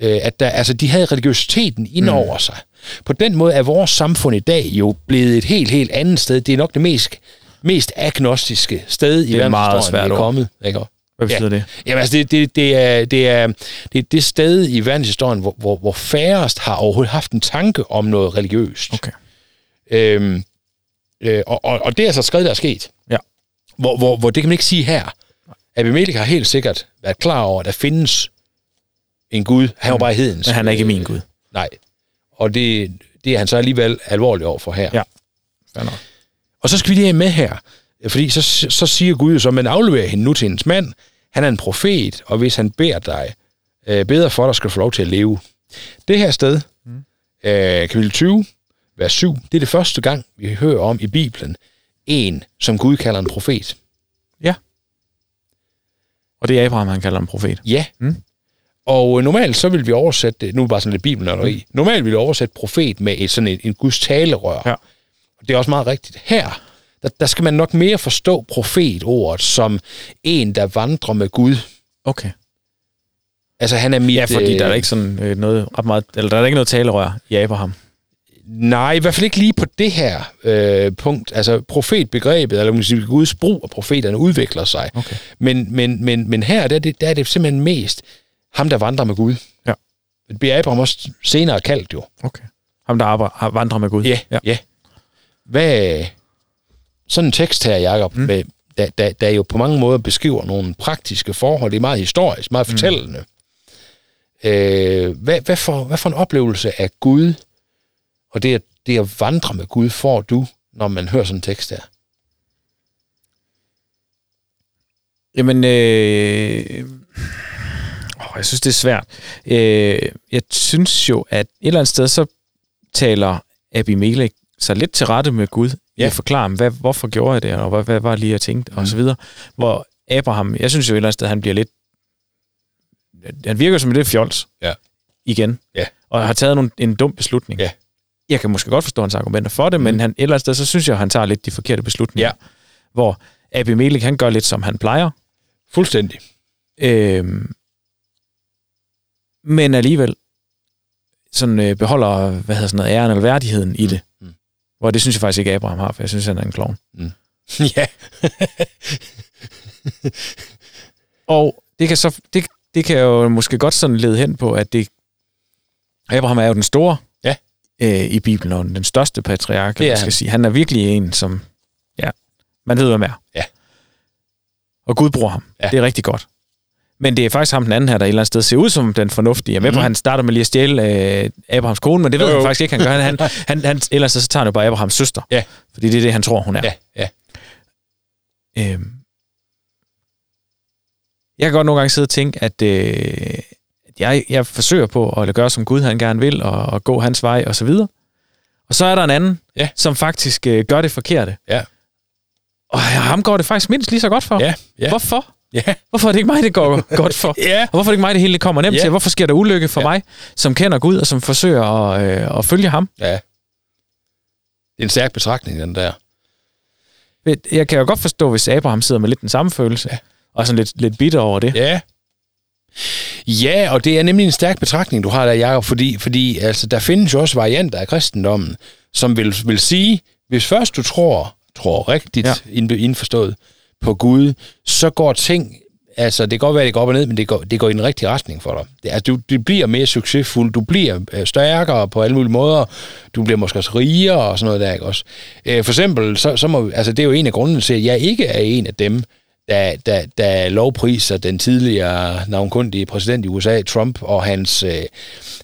C: øh, at der, altså, de havde religiøsiteten ind
B: Mm.
C: over sig. På den måde er vores samfund i dag jo blevet et helt, helt andet sted. Det er nok det mest, mest agnostiske sted i
B: er et meget
C: verdenshistorien,
B: svært
C: vi er
B: ord.
C: kommet. Ikke?
B: Hvad betyder ja. det?
C: Jamen altså, det, det, det, er, det, er, det er det sted i verdenshistorien, hvor, hvor, hvor færrest har overhovedet haft en tanke om noget religiøst.
B: Okay.
C: Øhm, øh, og, og, og det er altså skrevet, der er sket.
B: Ja.
C: Hvor, hvor, hvor det kan man ikke sige her. Abimelech har helt sikkert været klar over, at der findes en Gud. Han var bare hedens.
B: Men han er ikke min Gud.
C: Nej. Og det, det er han så alligevel alvorlig over for her.
B: Ja.
C: Og så skal vi lige have med her, fordi så, så siger Gud jo så, man afleverer hende nu til hendes mand. Han er en profet, og hvis han beder dig, øh, beder for dig, skal du få lov til at leve. Det her sted, øh, kapitel 20, vers 7, det er det første gang, vi hører om i Bibelen, en, som Gud kalder en profet.
B: Og det er Abraham, han kalder en profet.
C: Ja.
B: Mm.
C: Og øh, normalt så vil vi oversætte det, nu er det bare sådan lidt bibelnørderi, mm. normalt vil vi oversætte profet med et, sådan en, en Guds talerør.
B: Ja.
C: Og det er også meget rigtigt. Her, der, der skal man nok mere forstå profetordet som en, der vandrer med Gud.
B: Okay.
C: Altså han er mit...
B: Ja, fordi der er ikke sådan øh, noget ret meget... Eller der er ikke noget talerør i Abraham.
C: Nej, i hvert fald ikke lige på det her øh, punkt. Altså profetbegrebet, eller man sige, Guds brug af profeterne udvikler sig.
B: Okay.
C: Men, men, men, men her der er, det, der er det simpelthen mest ham, der vandrer med Gud.
B: Ja.
C: Det bliver Abraham også senere kaldt jo.
B: Okay. Ham, der arbejder, vandrer med Gud.
C: Ja, ja. ja. Hvad, sådan en tekst her, Jacob, mm. med, der, der, der jo på mange måder beskriver nogle praktiske forhold. Det er meget historisk, meget fortællende. Mm. Øh, hvad, hvad, for, hvad for en oplevelse af Gud, og det at, det at vandre med Gud, får du, når man hører sådan en tekst her?
B: Jamen, øh, åh, jeg synes, det er svært. Øh, jeg synes jo, at et eller andet sted, så taler Abimelech sig lidt til rette med Gud. Ja.
C: Ja. Mhm.
B: Jeg forklarer ham, hvad, hvorfor gjorde jeg det, og hvad, hvad var lige jeg tænkte, og så videre. Hvor Abraham, jeg synes jo et eller andet sted, han bliver lidt... Han virker som lidt fjols.
C: Ja.
B: Igen.
C: Ja.
B: Og har taget nogle, en dum beslutning.
C: Ja. Mhm.
B: Jeg kan måske godt forstå hans argumenter for det, mm. men han, et eller andet sted, så synes jeg, han tager lidt de forkerte beslutninger.
C: Ja.
B: Hvor Abimelech, han gør lidt, som han plejer.
C: Fuldstændig.
B: Øhm, men alligevel sådan, øh, beholder hvad hedder sådan noget, æren eller værdigheden i det.
C: Mm.
B: Hvor det synes jeg faktisk ikke, Abraham har, for jeg synes, han er en klovn.
C: (laughs) ja.
B: Og det kan, så, det, det kan jo måske godt sådan lede hen på, at det, Abraham er jo den store
C: Ja.
B: øh, i Bibelen, og den største patriark,
C: Det er
B: man skal
C: han.
B: sige. Han er virkelig en, som ja, man ved, hvem er.
C: Ja.
B: Og Gud bruger ham.
C: Ja.
B: Det er rigtig godt. Men det er faktisk ham den anden her, der et eller andet sted ser ud som den fornuftige. Jeg er med på, at han starter med lige at stjæle øh, Abrahams kone, men det ved
C: Mhm. Jo,
B: han
C: jo.
B: faktisk ikke, han gør. Han, han, han, han, ellers så tager han jo bare Abrahams søster.
C: Ja.
B: Fordi det er det, han tror, hun er.
C: Ja, ja.
B: Øhm, jeg kan godt nogle gange sidde og tænke, at øh, at jeg, jeg forsøger på at gøre, som Gud han gerne vil, og, og gå hans vej, og så videre. Og så er der en anden,
C: Ja.
B: som faktisk øh, gør det forkerte.
C: Ja.
B: Og ham går det faktisk mindst lige så godt for.
C: Ja, ja.
B: Hvorfor?
C: Ja.
B: Hvorfor er det ikke mig, det
C: (laughs)
B: går godt for?
C: Ja.
B: Og hvorfor er det ikke mig, det hele det kommer nemt
C: Ja.
B: til? Hvorfor sker der ulykke for
C: Ja.
B: mig, som kender Gud, og som forsøger at, øh, at følge ham?
C: ja. Det er en stærk betragtning, den der.
B: Jeg kan jo godt forstå, hvis Abraham sidder med lidt den samme følelse, ja. og sådan lidt, lidt bitter over det.
C: Ja. Ja, og det er nemlig en stærk betragtning, du har der, Jacob, fordi, fordi altså, der findes jo også varianter af kristendommen, som vil, vil sige, Hvis først du tror, tror rigtigt,
B: Ja.
C: ja. indforstået på Gud, så går ting, altså det kan godt være, det går op og ned, men det går, det går i den rigtige retning for dig. Det, altså, du, du bliver mere succesfuld, du bliver øh, stærkere på alle mulige måder, du bliver måske også rigere og sådan noget der, ikke også? Øh, for eksempel, så, så må, vi- altså, det er jo en af grundene til, at jeg ikke er en af dem, der, der, der lovpriser den tidligere navnkundige præsident i USA, Trump, og hans, øh,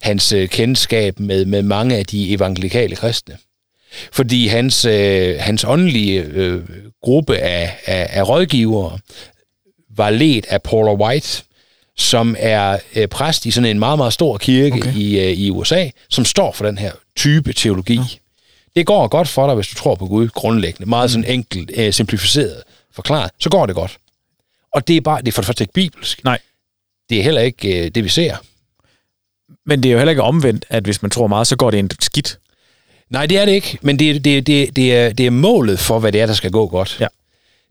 C: hans øh, kendskab med, med mange af de evangelikale kristne fordi hans, øh, hans åndelige øh, gruppe af, af, af rådgivere var ledt af Paula White, som er øh, præst i sådan en meget, meget stor kirke okay. i, øh, i USA, som står for den her type teologi. Ja. Det går godt for dig, hvis du tror på Gud grundlæggende. Meget sådan enkelt, øh, simplificeret forklaret, så går det godt. Og det er bare, det er for det første ikke bibelsk.
B: Nej.
C: Det er heller ikke øh, det, vi ser.
B: Men det er jo heller ikke omvendt, at hvis man tror meget, så går det en skidt.
C: Nej, det er det ikke, men det, er- det, er- det, er- det, er, det er målet for, hvad det er, der skal gå godt.
B: Ja.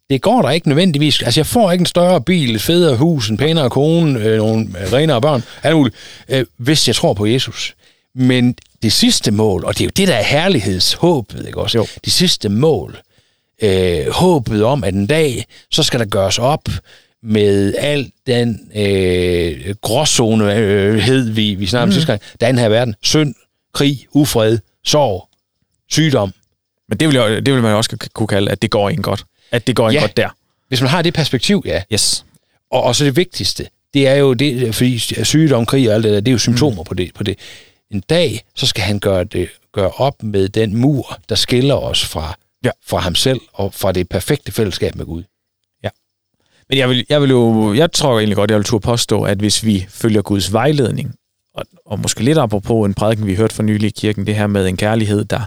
C: Det går der ikke nødvendigvis. Altså, jeg får ikke en større bil, et federe hus, en pænere kone, øh, nogle øh, renere børn, alt muligt, øh, hvis jeg tror på Jesus. Men det sidste mål, og det er jo det, der er herlighedshåbet, ikke også?
B: Jo.
C: Det sidste mål, øh, håbet om, at en dag, så skal der gøres op med al den øh, gråzonehed, vi, vi snakkede om mm. sidste gang, der er i den her verden. Synd, krig, ufred, sorg, sygdom.
B: Men det vil, jo, det vil man jo også kunne kalde, at det går en godt. At det går en
C: Ja.
B: godt der.
C: Hvis man har det perspektiv, ja.
B: Yes.
C: Og, og så det vigtigste, det er jo det, fordi sygdom, krig og alt det der, det er jo symptomer mm. på, det, på det. En dag, så skal han gøre, det, gøre op med den mur, der skiller os fra,
B: Ja.
C: ja. fra ham selv og fra det perfekte fællesskab med Gud.
B: Men jeg, vil, jeg, vil jo, jeg tror egentlig godt, jeg vil turde påstå, at hvis vi følger Guds vejledning, og, og måske lidt apropos en prædiken, vi hørte for nylig i kirken, det her med en kærlighed, der,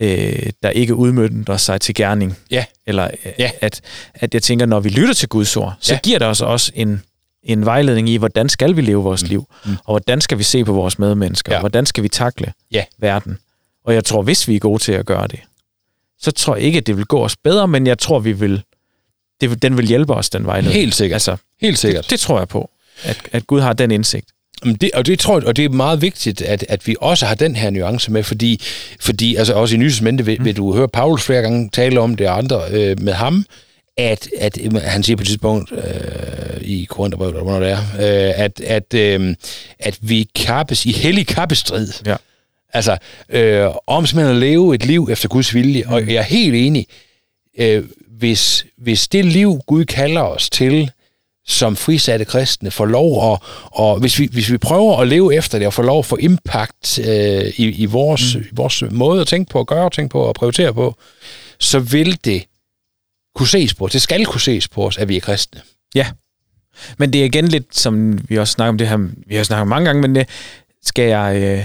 B: øh, der ikke udmyndter sig til gerning.
C: Ja.
B: Eller øh,
C: Ja.
B: At, at jeg tænker, når vi lytter til Guds ord, så
C: Ja.
B: giver det os også en, en vejledning i, hvordan skal vi leve vores liv, og hvordan skal vi se på vores medmennesker,
C: Mm. Ja.
B: og hvordan skal vi takle
C: Ja.
B: verden. Og jeg tror, hvis vi er gode til at gøre det, så tror jeg ikke, at det vil gå os bedre, men jeg tror, vi vil, det, vil- den vil hjælpe os, den vejledning.
C: Helt sikkert.
B: Altså,
C: Helt sikkert.
B: det, det tror jeg på, at, at Gud har den indsigt.
C: Jamen, Det, og, det tror jeg, og det er meget vigtigt, at, at vi også har den her nuance med, fordi, fordi altså også i Nysesmente vil, vil du høre Paulus flere gange tale om det og andre øh, med ham, at, at øh, han siger på et tidspunkt øh, i Korintherbrevet, eller hvornår det er, øh, at, at, øh, at vi kappes i hellig kappestrid.
B: Ja.
C: Altså, øh, om simpelthen at leve et liv efter Guds vilje, og jeg er helt enig, øh, hvis, hvis det liv, Gud kalder os til, som frisatte kristne, får lov at, og hvis vi, hvis vi prøver at leve efter det, og får lov at få impact øh, i, i, vores, mm. i vores måde at tænke på, at gøre, tænke på og prioritere på, så vil det kunne ses på os. Det skal kunne ses på os, at vi er kristne.
B: Men det er igen lidt, som vi også snakker om det her, vi har snakket om mange gange, men det skal jeg... Øh,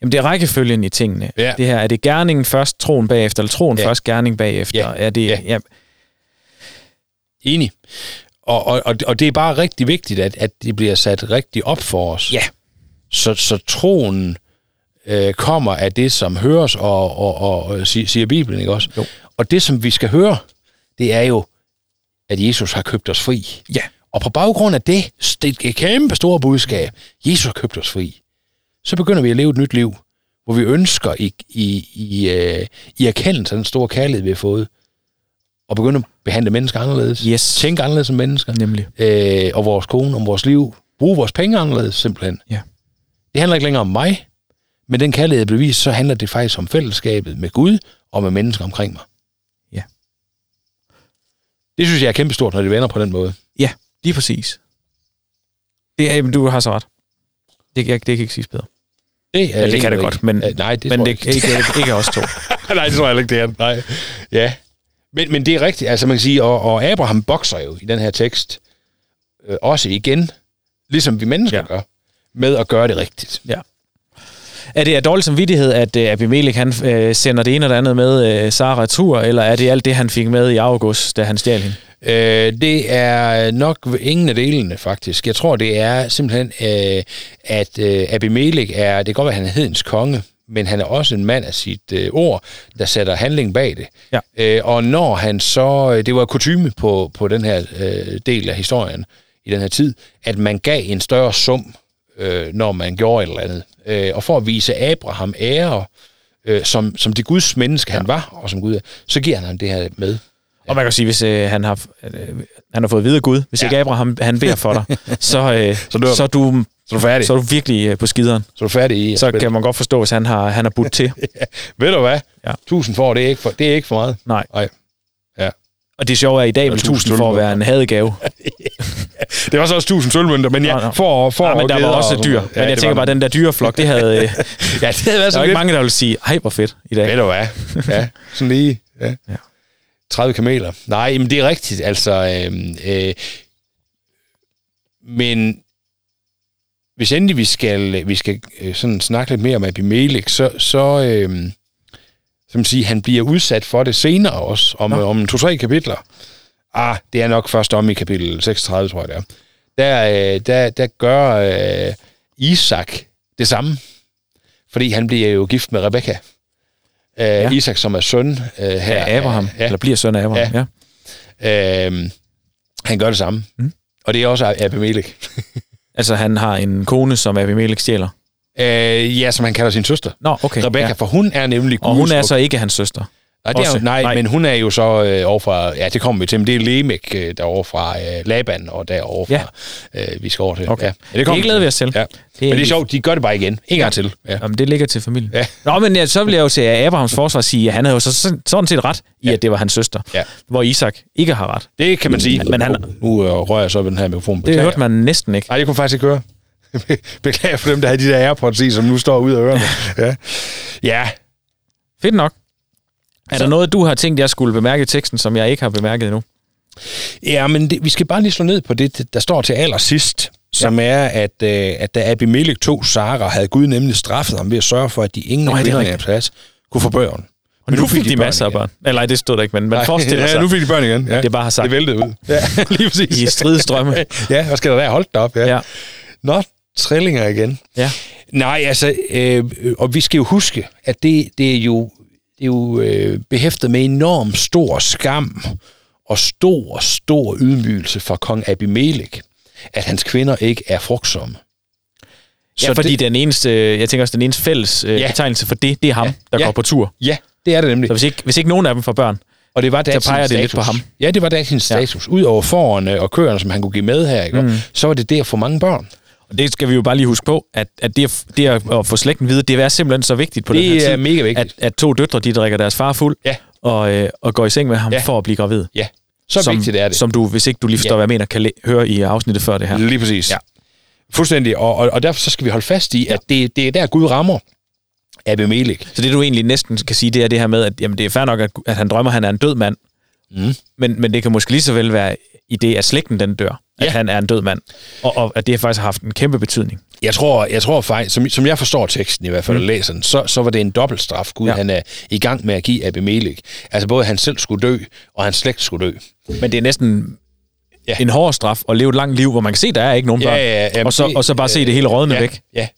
B: jamen, det er rækkefølgen i tingene.
C: Ja.
B: Det her, er det gerningen først, troen bagefter, eller troen
C: Ja.
B: først, gerning bagefter?
C: Ja.
B: Er det,
C: Ja.
B: ja.
C: Enig. Og, og, og, og det er bare rigtig vigtigt, at, at det bliver sat rigtig op for os.
B: Ja.
C: Så, så troen øh, kommer af det, som høres, og, og, og, og si- siger Bibelen, ikke også?
B: Jo.
C: Og det, som vi skal høre, det er jo, at Jesus har købt os fri.
B: Ja.
C: Og på baggrund af det, det er et kæmpe store budskab, Jesus har købt os fri, så begynder vi at leve et nyt liv, hvor vi ønsker i, i, i, øh, i erkendelse af den store kærlighed, vi har fået, og begynde at behandle mennesker anderledes
B: Yes.
C: tænke anderledes som mennesker,
B: Nemlig.
C: øh, og vores kone, om vores liv, bruge vores penge anderledes simpelthen.
B: Ja.
C: Det handler ikke længere om mig, men den kærlighed jeg blev vist, så handler det faktisk om fællesskabet med Gud og med mennesker omkring mig.
B: Ja.
C: Det synes jeg er kæmpestort, når det vender på den måde.
B: Ja, lige præcis. Det er, jamen, du har så ret. Det, jeg, det kan ikke siges bedre.
C: Det, er
B: Eller det kan det
C: egentlig
B: godt,
C: ikke-
B: men-
C: Øh, nej, det
B: men
C: tror
B: det
C: jeg
B: ikke, ikke, ikke os to.
C: (laughs) Nej, det tror jeg heller ikke, det er. Nej. Ja. Men, men det er rigtigt. Altså, man kan sige, og, og Abraham bokser jo i den her tekst øh, også igen, ligesom vi mennesker
B: Ja.
C: ja. gør, med at gøre det rigtigt.
B: Er det af dårlig samvittighed, at øh, Abimelech han, øh, sender det ene og det andet med øh, Sara retur, eller er det alt det, han fik med i august, da han stjal hende?
C: Øh, det er nok ingen af delene, faktisk. Jeg tror, det er simpelthen, øh, at øh, Abimelech er, det kan godt være, at han er hedens konge, men han er også en mand af sit øh, ord, der sætter handling bag det.
B: Ja.
C: Øh, og når han så, øh, det var kutume på, på den her øh, del af historien i den her tid, at man gav en større sum, øh, når man gjorde et eller andet. Øh, og for at vise Abraham ære, øh, som, som det Guds menneske, han var, og som Gud er, så giver han ham det her med.
B: Og man kan jo sige, hvis øh, han, har, øh, han har fået videre Gud, hvis ja. ikke Abraham han beder for dig, så, øh, så,
C: dør
B: så, er du,
C: Så er du færdig.
B: så er du virkelig øh, på skideren.
C: Så er du færdig i at
B: Så
C: spille.
B: kan man godt forstå, hvis han har, han har budt til.
C: Ved du hvad?
B: Ja.
C: 1000 for, det er ikke for, det er ikke for meget.
B: Nej.
C: Nej.
B: Og det sjove er, at i dag vil
C: Og 1000
B: tusind for at være en hadegave.
C: Det var så også 1000 sølvmønter, men
B: Nå, nå.
C: ja, for, for
B: Nej, men der
C: geder
B: var
C: og
B: også
C: sådan
B: dyr.
C: noget.
B: Men jeg
C: det
B: tænker
C: var
B: bare, at den der dyreflok, det havde... Øh,
C: Ja, det havde været
B: der
C: så
B: var ikke
C: lidt.
B: mange, der ville sige, ej, hvor fedt i dag.
C: Ved du hvad? Ja, sådan lige. Ja.
B: Ja.
C: 30 kameler. Nej, men det er rigtigt, altså. Øhm, øh, men hvis endelig vi skal, vi skal øh, sådan snakke lidt mere om Abimelech, så, så øhm, som sige, han bliver udsat for det senere også, om, øh, om to-tre kapitler. Ah, det er nok først om i kapitel 36, tror jeg det er. Der, øh, der, der gør øh, Isak det samme, fordi han bliver jo gift med Rebekka. Øh, ja. Isak, som er søn øh, her.
B: Ja, Abraham.
C: Ja,
B: Eller bliver søn af Abraham. Ja.
C: øh, han gør det samme. Mm. Og det er også Abimelech.
B: Altså, han har en kone, som Abimelech stjæler.
C: Øh, ja, som han kalder sin søster.
B: Nå, okay.
C: Rebekka, ja.
B: Ja.
C: for hun er nemlig
B: Og hun
C: Guds
B: er så ikke hans søster.
C: Nej, det er
B: Også-
C: jo, nej,
B: nej.
C: nej, men hun er jo så øh, over fra, ja, det kommer vi til, men det er Lemek øh, derovre fra øh, Laban og derovre
B: Ja.
C: fra, øh, vi skal over til.
B: Okay.
C: Ja, ja,
B: Det
C: kommer
B: glæder
C: til.
B: vi os til.
C: Ja.
B: er
C: men det er
B: helt-
C: sjovt, de gør det bare igen. En gang til. Ja.
B: Jamen, det ligger til familien.
C: Ja.
B: Nå, men ja, så vil jeg jo til Abrahams forsvar sige, at han havde jo så sådan- sådan set ret i, at det var hans søster.
C: Ja.
B: Hvor Isak ikke har ret.
C: Det kan man sige.
B: Men han-
C: nu øh, rører jeg så ved den her mikrofon.
B: Det
C: Beklager.
B: hørte man næsten ikke.
C: Nej, det kunne faktisk ikke høre. (laughs) Beklager for dem, der havde de der Airpods i, som nu står ud af ørerne. ja. ja,
B: Fedt nok. Er der noget, du har tænkt, jeg skulle bemærke i teksten, som jeg ikke har bemærket endnu?
C: Ja, men det, vi skal bare lige slå ned på det, der står til allersidst, som ja. er, at, øh, at da Abimelech tog Sara, havde Gud nemlig straffet ham ved at sørge for, at de ingen
B: Nå,
C: af
B: ja, det er
C: kvinderne af
B: rigtigt.
C: plads kunne få børn.
B: Og nu, nu fik de,
C: børn
B: masser af
C: igen.
B: børn. Eller nej, det stod der ikke, men man
C: Nej, (laughs)
B: forestiller sig,
C: Ja, nu fik de børn igen. Ja.
B: det bare har sagt.
C: Det væltede ud. Ja, (laughs) lige præcis.
B: i stridestrømme.
C: (laughs) Ja, hvad skal der være? Hold da op, ja.
B: Ja.
C: ja. Nå, trillinger igen.
B: Ja.
C: Nej, altså, øh, og vi skal jo huske, at det, det er jo, det er jo øh, behæftet med enorm stor skam og stor, stor ydmygelse fra kong Abimelech, at hans kvinder ikke er frugtsomme.
B: Ja, fordi
C: det,
B: det... den eneste, jeg tænker også, den eneste fælles øh,
C: Ja.
B: betegnelse for det, det er ham, ja. der
C: Ja.
B: går på tur.
C: ja, det er det nemlig.
B: Så hvis ikke, hvis ikke nogen af dem får børn,
C: Og det var
B: der
C: datidens
B: peger det
C: status.
B: lidt på ham.
C: Ja, det var datidens status. Udover forerne og køerne, som han kunne give med her, ikke? Mm. så var det det at få mange børn.
B: og det skal vi jo bare lige huske på, at, at det, at, det at, at få slægten videre, det er simpelthen så vigtigt på
C: Det
B: den her tid,
C: er mega vigtigt.
B: At, at to døtre, de drikker deres far fuld,
C: Ja.
B: og, øh, og går i seng med ham ja.
C: Ja.
B: for at blive gravid.
C: Ja, så
B: som,
C: vigtigt er det.
B: Som du, hvis ikke du lige forstår, ja.
C: Ja.
B: hvad jeg mener, kan læ- høre i afsnittet før det her.
C: Lige præcis.
B: Ja.
C: Ja. Fuldstændig. Og, og, og derfor så skal vi holde fast i, at det, det er der, Gud rammer Abimelech.
B: Så det du egentlig næsten kan sige, det er det her med, at jamen, det er fair nok, at, at han drømmer, at han er en død mand.
C: Mm.
B: Men, men det kan måske lige så vel være i det, at slægten den dør, ja. at
C: Ja.
B: han er en død mand. Og, og at det har faktisk haft en kæmpe betydning.
C: Jeg tror, jeg tror faktisk, som, som jeg forstår teksten i hvert fald, mm. og læser den, så, så var det en dobbeltstraf, Gud
B: Ja.
C: ja. han er i gang med at give Abimelech. Altså både han selv skulle dø, og hans slægt skulle dø.
B: Men det er næsten ja.
C: Ja.
B: en hård straf at leve et langt liv, hvor man kan se, der er ikke nogen
C: Ja,
B: børn.
C: ja, ja,
B: og, så,
C: det-
B: og så bare se det hele rådne
C: ja,
B: væk.
C: Ja.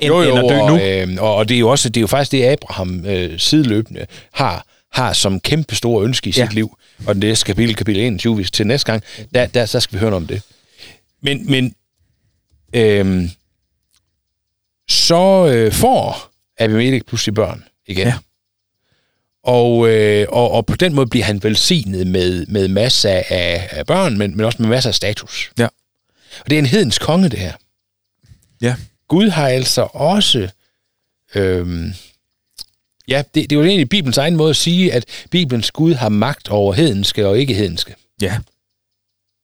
B: End- end at dø
C: og,
B: nu.
C: Øh, og, og det er jo også det er jo faktisk det, Abraham øh, sideløbende har, har som kæmpe store ønske i sit
B: Ja.
C: liv. Og det næste kapitel, kapitel 21, hvis til næste gang, der, der, så skal vi høre noget om det. Men, men øh, så øh, får Abimelech pludselig børn igen.
B: Ja.
C: Ja. Og, øh, og, og på den måde bliver han velsignet med, med masser af, af børn, men, men også med masser af status.
B: Ja.
C: Og det er en hedens konge, det her.
B: Ja.
C: Gud har altså også... Øhm, ja, det, det er jo egentlig Bibelens egen måde at sige, at Bibelens Gud har magt over hedenske og ikke hedenske.
B: ja.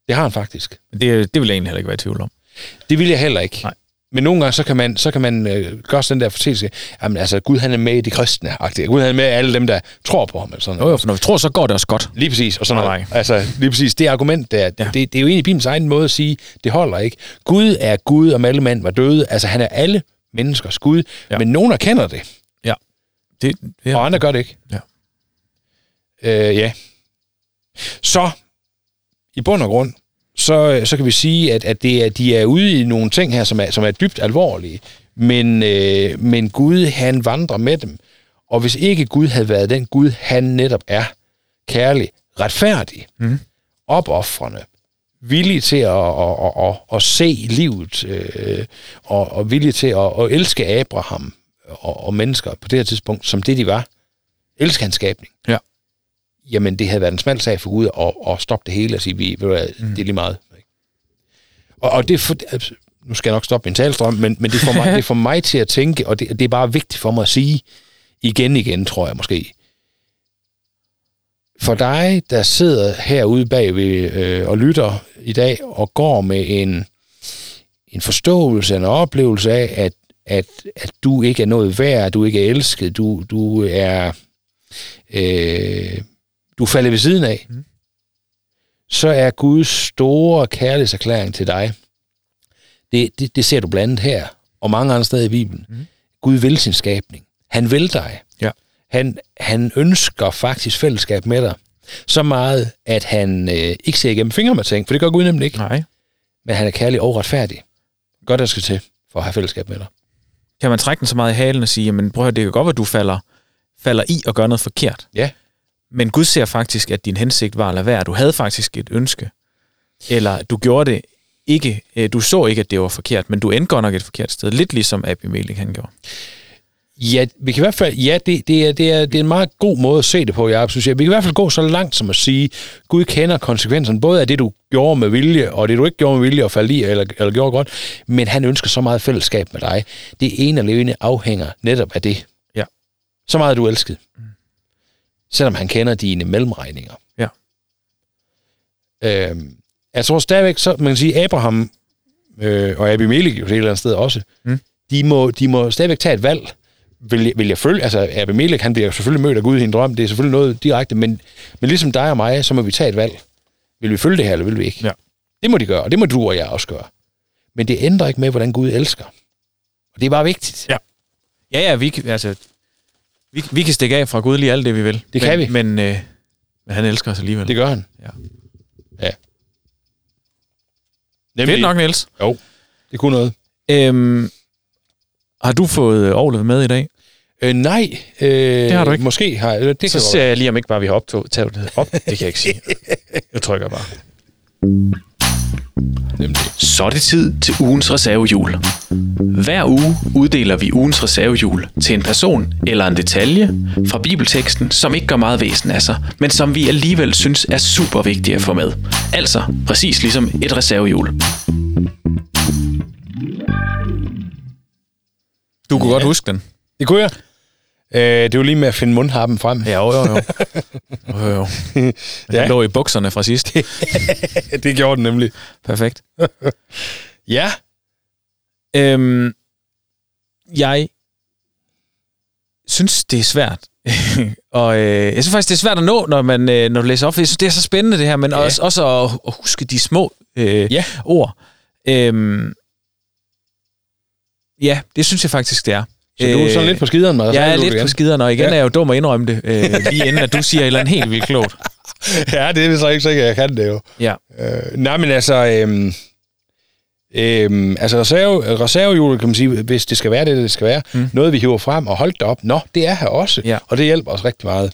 C: Det har han faktisk.
B: Det, det vil jeg egentlig heller ikke være i tvivl om.
C: Det vil jeg heller ikke.
B: Nej.
C: Men nogle gange, så kan man, så kan man øh, gøre sådan den der fortælling, jamen altså, Gud han er med i de kristne -agtige. Gud han er med i alle dem, der tror på ham. Eller sådan
B: Jo, jo, for når vi tror, så går det også godt.
C: Lige præcis, og sådan
B: Nej,
C: noget. Altså, lige præcis, det argument der, ja. det, det er jo egentlig Bibelens egen måde at sige, det holder ikke. Gud er Gud, og alle mand var døde. Altså, han er alle menneskers Gud,
B: Ja.
C: ja. men nogen erkender det.
B: Det,
C: Ja.
B: ja.
C: Og andre gør det ikke.
B: Ja.
C: Øh, ja. Så, i bund og grund, så, så kan vi sige, at, at det er, de er ude i nogle ting her, som er, som er dybt alvorlige. Men, øh, men Gud, han vandrer med dem. Og hvis ikke Gud havde været den Gud, han netop er, kærlig, retfærdig,
B: Mhm.
C: mm. opoffrende, villig til at, at, at, at, at se livet, øh, og, og villig til at, at elske Abraham, og, og mennesker på det her tidspunkt, som det de var, elsker hans skabning.
B: Ja.
C: Jamen, det havde været en smal sag for Gud at, at stoppe det hele og sige, vi, ved du hvad, det er lige meget. Og, og det, for, altså, nu skal jeg nok stoppe min talstrøm, men, men det, får mig, det får mig til at tænke, og det, det er bare vigtigt for mig at sige, igen igen, tror jeg måske. For dig, der sidder herude bagved øh, og lytter i dag, og går med en, en forståelse, en oplevelse af, at, at, at du ikke er noget værd, du ikke er elsket, du, du er... Øh, du er faldet ved siden af, mm. så er Guds store kærlighedserklæring til dig, det, det, det ser du blandt andet her, og mange andre steder i Bibelen. Mm. Gud vil sin skabning. Han vil dig.
B: Ja.
C: Han, han ønsker faktisk fællesskab med dig. Så meget, at han øh, ikke ser igennem fingre med ting, for det gør Gud nemlig ikke.
B: Nej.
C: Men han er kærlig og retfærdig. Godt, der skal til for at have fællesskab med dig.
B: Kan man trække den så meget i halen og sige, jamen prøv at høre, det kan godt være, du falder, falder i og gør noget forkert.
C: Ja.
B: Men Gud ser faktisk, at din hensigt var at lade være. Du havde faktisk et ønske. Eller du gjorde det ikke, øh, du så ikke, at det var forkert, men du endte godt nok et forkert sted. Lidt ligesom Abimelech han gjorde.
C: Ja, vi kan i hvert fald, ja det, det, er, det, er, det er en meget god måde at se det på, jeg synes jeg. Vi kan i hvert fald gå så langt som at sige, Gud kender konsekvenserne, både af det, du gjorde med vilje, og det, du ikke gjorde med vilje og faldt i, eller, eller gjorde godt, men han ønsker så meget fællesskab med dig. Det ene og alene afhænger netop af det.
B: Ja.
C: Så meget er du elsket. Selvom han kender dine mellemregninger.
B: Ja.
C: Øhm, jeg tror stadigvæk, så man kan sige, Abraham øh, og Abimelech jo et eller andet sted også,
B: Mm.
C: mm. de, må, de må stadigvæk tage et valg. Vil jeg, vil jeg følge, altså Abimelech, han bliver selvfølgelig mødt af Gud i en drøm, det er selvfølgelig noget direkte, men, men ligesom dig og mig, så må vi tage et valg. Vil vi følge det her, eller vil vi ikke?
B: Ja.
C: Det må de gøre, og det må du og jeg også gøre. Men det ændrer ikke med, hvordan Gud elsker. Og det er bare vigtigt.
B: Ja, ja, vi, kan- altså, vi, vi kan stikke af fra Gud lige alt det, vi vil.
C: Det
B: men,
C: kan vi.
B: Men, øh, men han elsker os alligevel.
C: Det gør han.
B: Ja.
C: ja.
B: Fedt nok, Niels.
C: Jo, det kunne noget.
B: Øhm, har du fået øh, orlet med i dag?
C: Øh, nej, øh, det
B: har du ikke.
C: Måske har jeg. eller Det
B: Så
C: kan godt
B: ser jeg lige, om ikke bare vi har optog, taget det op. Det kan jeg ikke sige. Jeg trykker bare.
E: Så er det tid til ugens reservehjul. Hver uge uddeler vi ugens reservehjul til en person eller en detalje fra bibelteksten, som ikke gør meget væsen af sig, men som vi alligevel synes er super vigtige at få med. Altså præcis ligesom et reservehjul.
B: (laughs) Du kunne ja. godt huske den.
C: Det kunne jeg. Øh, det var lige med at finde mundharpen frem.
B: Ja, jo, jo, jo. (laughs) jo, jo. (laughs) ja. Den lå i bukserne fra sidst.
C: (laughs) det gjorde den nemlig.
B: Perfekt.
C: Ja.
B: Øhm, jeg synes, det er svært. (laughs) og øh, jeg synes faktisk, det er svært at nå, når man øh, når du læser op, for jeg synes, det er så spændende det her, men ja. også, også at, at huske de små øh,
C: Ja.
B: ord. Øhm, ja, det synes jeg faktisk, det er.
C: Så du er sådan lidt på skideren med.
B: Jeg er lidt på skideren, og igen ja.
C: Ja.
B: er jeg jo dum at indrømme det,
C: (laughs)
B: øh, lige inden at du siger et eller andet helt vildt klogt.
C: Ja, det er vi så ikke sikkert, jeg kan det jo.
B: Ja.
C: Øh, nej, men altså... Øhm, øhm, altså reserve, reservehjulet, kan man sige, hvis det skal være det, det skal være. Mm. Noget, vi hiver frem og holdt op. Nå, det er her også.
B: Ja.
C: Og det hjælper os rigtig meget.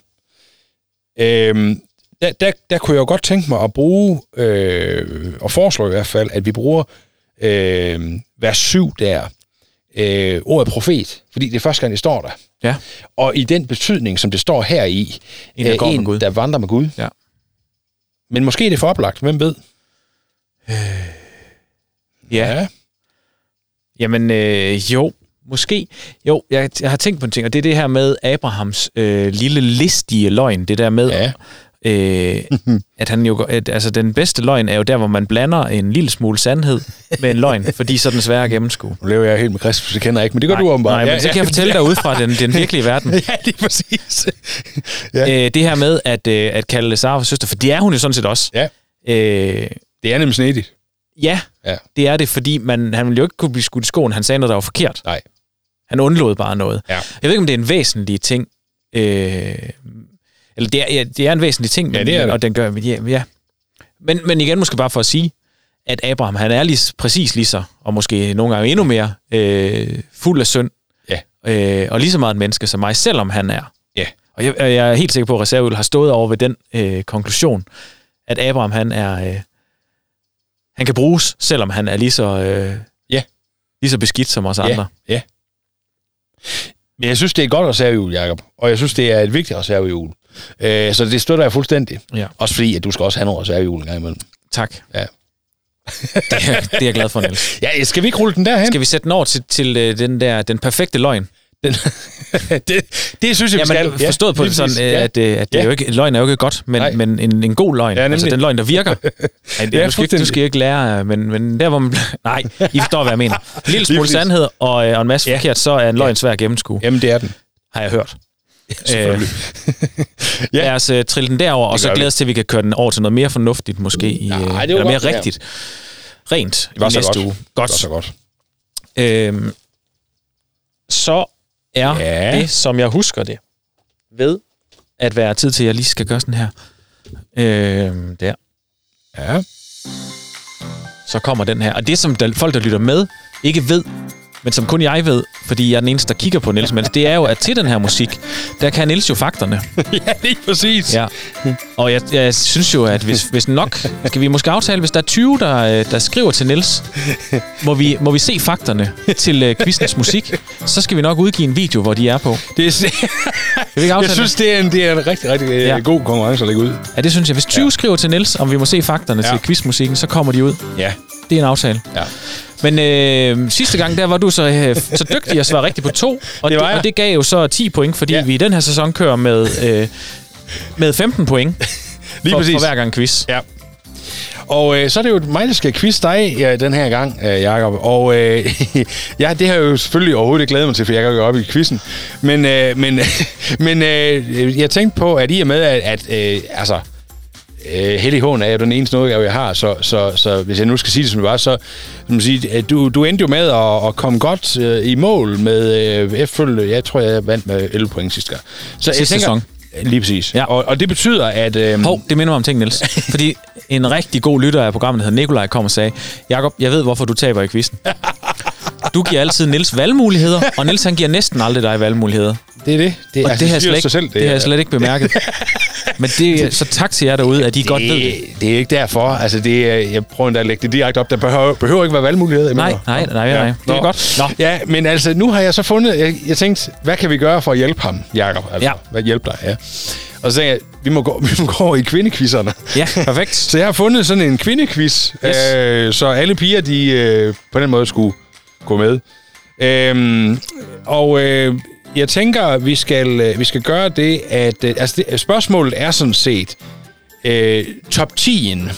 C: Øhm, der, der, der kunne jeg jo godt tænke mig at bruge, øh, og foreslå i hvert fald, at vi bruger øh, vers 7 der, øh, ordet profet, fordi det er første gang, det står der.
B: Ja.
C: Og i den betydning, som det står her i,
B: En, der
C: øh,
B: går med
C: en
B: Gud.
C: der vandrer med Gud.
B: Ja.
C: Men måske er det for oplagt, hvem ved?
B: Ja. Jamen, øh, jo, måske. Jo, jeg, jeg har tænkt på en ting, og det er det her med Abrahams øh, lille listige løgn. Det der med,
C: Ja.
B: øh, at han jo... går- At, altså, den bedste løgn er jo der, hvor man blander en lille smule sandhed med en løgn,
C: (laughs)
B: fordi så er den svær at gennemskue.
C: Nu lever jeg helt med Kristus, det kender jeg ikke, men det gør du åbenbart.
B: nej,
C: ja,
B: men så kan jeg fortælle dig ud fra den, den virkelige verden.
C: (laughs) Ja, det er præcis. (laughs) ja.
B: Øh, det her med at, øh, at kalde Sara for søster, for det er hun jo sådan set også.
C: ja,
B: Øh,
C: det er nemlig snedigt.
B: ja,
C: Ja.
B: det er det, fordi man, han ville jo ikke kunne blive skudt i skoen. Han sagde noget, der var forkert.
C: Nej.
B: Han undlod bare noget.
C: Ja.
B: Jeg ved ikke, om det er en væsentlig ting. Øh, eller det er, ja, det er en væsentlig ting, men,
C: Ja, det er det.
B: og den gør... Ja, ja. Men, men igen, måske bare for at sige, at Abraham, han er lige, s- præcis lige så, og måske nogle gange endnu mere, øh, fuld af synd.
C: Ja.
B: Øh, og lige så meget et menneske som mig, selvom han er.
C: Ja.
B: Og jeg, og jeg er helt sikker på, at Reserveøl har stået over ved den øh, konklusion, at Abraham, han er... Øh, han kan bruges, selvom han er lige så... Øh,
C: Ja.
B: Lige så beskidt som os
C: Ja.
B: andre.
C: Ja. Men jeg synes, det er et godt reservehjul, Jacob. Og jeg synes, det er et vigtigt reservehjul. Øh, så det støtter jeg fuldstændig.
B: Ja.
C: Også fordi, at du skal også have nogle reservehjul en gang imellem.
B: Tak. (laughs)
C: Ja.
B: det, er, det er jeg glad for, Niels.
C: Ja, skal vi ikke rulle den derhen?
B: Skal vi sætte den over til, til øh, den der den perfekte løgn?
C: Den, det, (laughs) det synes jeg, vi
B: Jamen,
C: skal.
B: forstået på
C: lige
B: det sådan,
C: præcis.
B: øh, at, øh, at det
C: Ja.
B: er jo ikke, løgn er jo ikke godt,
C: Nej.
B: men, men en, en god løgn,
C: Ja,
B: ja,
C: nemlig.
B: altså den løgn, der
C: (laughs)
B: virker. Ej, det, ja,
C: Ja,
B: du, skal ikke, du
C: fuldstændig.
B: skal ikke lære, men, men der hvor man... Nej, I forstår, hvad jeg
C: (laughs)
B: mener. En lille smule
C: præcis.
B: sandhed og, øh, og en masse
C: Ja.
B: ja. forkert, så er en løgn svær at gennemskue,
C: Jamen, det er den.
B: har jeg hørt.
C: selvfølgelig.
B: ja.
C: Ja.
B: Lad os uh, trille den derover, og
C: Det
B: så
C: gør vi.
B: glæde os til, at vi kan køre den over til noget mere fornuftigt måske, i,
C: Nej, det
B: øh,
C: var
B: eller mere
C: godt, ja.
B: rigtigt. Rent
C: Det var
B: i
C: så
B: næste
C: godt.
B: uge.
C: Det var
B: Godt.
C: så godt.
B: Øhm, så er
C: Ja.
B: ja. det, som jeg husker det, ved at være tid til, at jeg lige skal gøre sådan her. Øhm, der.
C: Ja.
B: Så kommer den her. Og det, som der, folk, der lytter med, ikke ved, men som kun jeg ved, fordi jeg er den eneste, der kigger på Niels, men det er jo, at til den her musik, der kan Niels jo
C: (laughs)
B: fakterne.
C: (laughs) ja, lige præcis.
B: Ja. Og jeg, jeg synes jo, at hvis, hvis nok, skal vi måske aftale, hvis der er 20, der, øh, der skriver til Niels, må vi, må vi se fakterne til øh, quizens musik, så skal vi nok udgive en video, hvor de er på.
C: Det er,
B: Kan vi ikke aftale
C: jeg synes, det er en, det er en rigtig, rigtig ja.
B: Ja.
C: god konkurrence at lægge ud.
B: det? Ja, det synes jeg. Hvis 20 ja. skriver til Niels, om vi må se fakterne
C: Ja.
B: ja. til quizmusikken, så kommer de ud.
C: Ja.
B: Det er en aftale.
C: Ja.
B: Men øh, sidste gang, der var du så, øh, så dygtig at svare rigtigt på
C: (laughs)
B: to, og
C: Det
B: det,
C: var jeg.
B: og det gav jo så 10 point, fordi
C: Ja.
B: ja. vi i den her sæson kører med, øh, med 15 point
C: (laughs) Lige
B: for,
C: præcis.
B: for hver gang quiz.
C: Ja. Og øh, så er det jo mig, der skal quiz dig ja, den her gang, øh, Jacob. Og øh, (laughs) ja, det har jeg jo selvfølgelig overhovedet ikke glædet mig til, for jeg kan jo gå op i quizzen. Men, øh, men, (laughs) men øh, jeg tænkte på, at i og med, at, at øh, altså, øh, Hellig Hån er jo den eneste noget, jeg har, så, så, så hvis jeg nu skal sige det, som det var, så kan man sige, at du, du endte jo med at, at komme godt øh, i mål med, øh, jeg, følte, jeg tror, jeg vandt med 11 point sidste gang. Så
B: Sidste sæson.
C: Lige præcis. Ja.
B: Ja.
C: Og, og det betyder, at... Øh,
B: Hov, det minder mig om ting,
C: (laughs)
B: Niels. Fordi en rigtig god lytter af programmet, der hedder Nikolaj, kom og sagde, Jakob, jeg ved, hvorfor du taber i
C: (laughs)
B: quizzen. Du giver altid Niels valgmuligheder, og Niels han giver næsten aldrig dig valgmuligheder.
C: Det er det. Det,
B: Og det, har jeg
C: siger
B: slet ikke,
C: sig selv,
B: det, det har jeg slet ikke
C: (laughs)
B: bemærket. Men det, så tak til jer derude, at I godt ved det.
C: det, det er ikke derfor. Altså, det er, jeg prøver endda at lægge det direkte op. Der behøver, behøver ikke være valgmuligheder. jeg
B: Nej,
C: mener.
B: nej, nej, nej. nej. Det
C: Nå.
B: er godt. Nå.
C: Ja, men altså, nu har jeg så fundet... Jeg, jeg tænkte, hvad kan vi gøre for at hjælpe ham, Jacob? Altså,
B: Ja.
C: Hvad hjælper dig, ja. Og så tænkte jeg, vi må gå, (laughs) vi må gå over i kvindekvisserne.
B: Ja, perfekt.
C: Så jeg har fundet sådan en kvindequiz, yes. øh, så alle piger, de øh, på den måde skulle gå med. Øhm, og øh, jeg tænker, vi skal, øh, vi skal gøre det, at... Øh, altså, det, spørgsmålet er sådan set øh, top 10'en,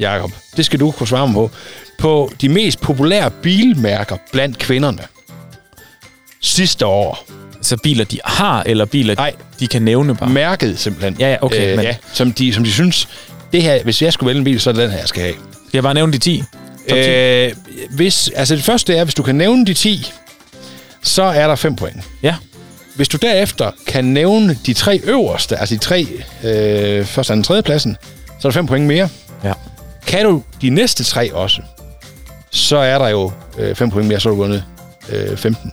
C: Jacob. Det skal du kunne svare mig på. På de mest populære bilmærker blandt kvinderne. Sidste år.
B: Så Altså, biler, de har, eller biler,
C: Nej.
B: Nej. de kan nævne bare.
C: Mærket simpelthen.
B: Ah.
C: Øh,
B: Ja, ja, okay, men-
C: ja, som, de, som de synes, det her, hvis jeg skulle vælge en bil, så er det den her, jeg skal have.
B: Skal jeg bare nævne de 10? Top 10?
C: Øh, hvis, altså det første er, hvis du kan nævne de 10, så er der 5 point.
B: Ja.
C: Hvis du derefter kan nævne de tre øverste, altså de tre øh, første, anden, tredje pladsen, så er der 5 point mere.
B: Ja.
C: Kan du de næste tre også, så er der jo 5 point mere, så har du vundet øh, 15.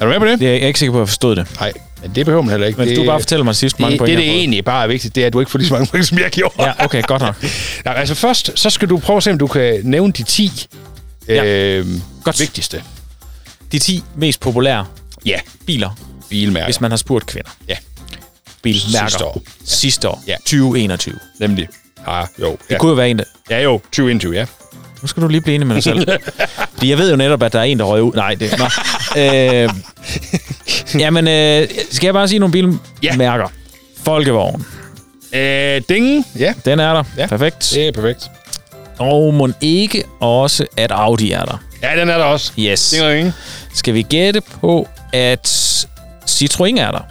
C: Er du med på det?
B: Det er jeg ikke sikker på, at jeg forstod det.
C: Nej, men det behøver man heller ikke.
B: Men det,
C: det,
B: du bare fortæller mig sidst, hvor mange
C: det,
B: point
C: det,
B: jeg
C: det
B: har fået.
C: egentlig bare er vigtigt, det er, at du ikke får lige så mange point, som jeg gjorde.
B: Ja, okay, godt nok.
C: Nej, altså først, så skal du prøve at se, om du kan nævne de 10
B: Ja.
C: øh,
B: Godt.
C: vigtigste.
B: De 10 mest populære
C: Ja,
B: biler,
C: bilmærker.
B: hvis man har spurgt kvinder.
C: Ja.
B: Bilmærker.
C: Sidste år.
B: Sidste år.
C: Ja.
B: 2021. Det
C: Nemlig. Ah, jo. Ja,
B: kunne jo være en, der...
C: ja jo. 2021, ja.
B: Nu skal du lige blive enig med dig
C: (laughs)
B: selv. Fordi jeg ved jo netop, at der er en, der røg ud. Nej, det var... øh, jamen, øh, skal jeg bare sige nogle bilmærker? Ja. Folkevogn.
C: Øh, ding. Ja.
B: Den er der.
C: Ja.
B: Perfekt.
C: Det er perfekt.
B: Og må ikke også, at Audi er der.
C: Ja, den er der også.
B: Yes.
C: Ding og ring.
B: Skal vi gætte på, at Citroën er der?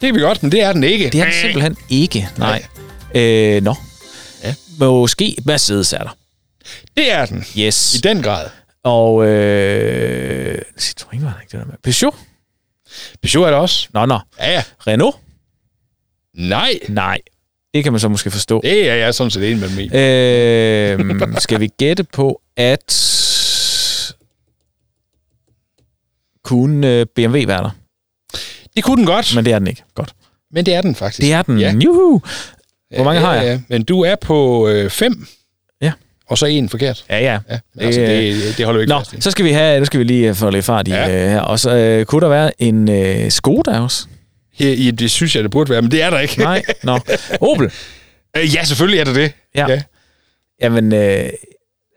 C: Det er vi godt, men det er den ikke.
B: Det er den simpelthen ikke. Øh. Nej. Øh, nå.
C: Ja.
B: Måske Mercedes er der.
C: det er den.
B: Yes.
C: I den grad.
B: Og øh, Citroën var der ikke det der med. Peugeot?
C: Peugeot er der også.
B: Nå, nå.
C: Ja, ja.
B: Renault?
C: Nej.
B: Nej. Det kan man så måske forstå.
C: Det er jeg sådan set enig med
B: (laughs)
C: mig.
B: Øh, skal vi gætte på, at kunne øh, BMW være der?
C: Det kunne den godt, men,
B: Men det er den ikke. Godt.
C: men det er den faktisk.
B: Det er den.
C: Ja.
B: Juhu! Hvor mange har jeg?
C: Ja, men du er på 5. Øh, fem.
B: Ja.
C: og så en forkert.
B: Ja, ja.
C: Ja, men altså,
B: Øh,
C: det, det holder vi ikke
B: Nå,
C: fast i.
B: så skal vi have, nu skal vi lige øh, få lidt fart i
C: Ja.
B: ja. øh, her. Og så øh, kunne der være en øh, Skoda også?
C: Ja, ja, det synes jeg, det burde være, men det er der ikke.
B: Nej,
C: (laughs)
B: nå. Opel.
C: Øh, ja, selvfølgelig er der det.
B: Ja.
C: Ja.
B: ja. Jamen, øh,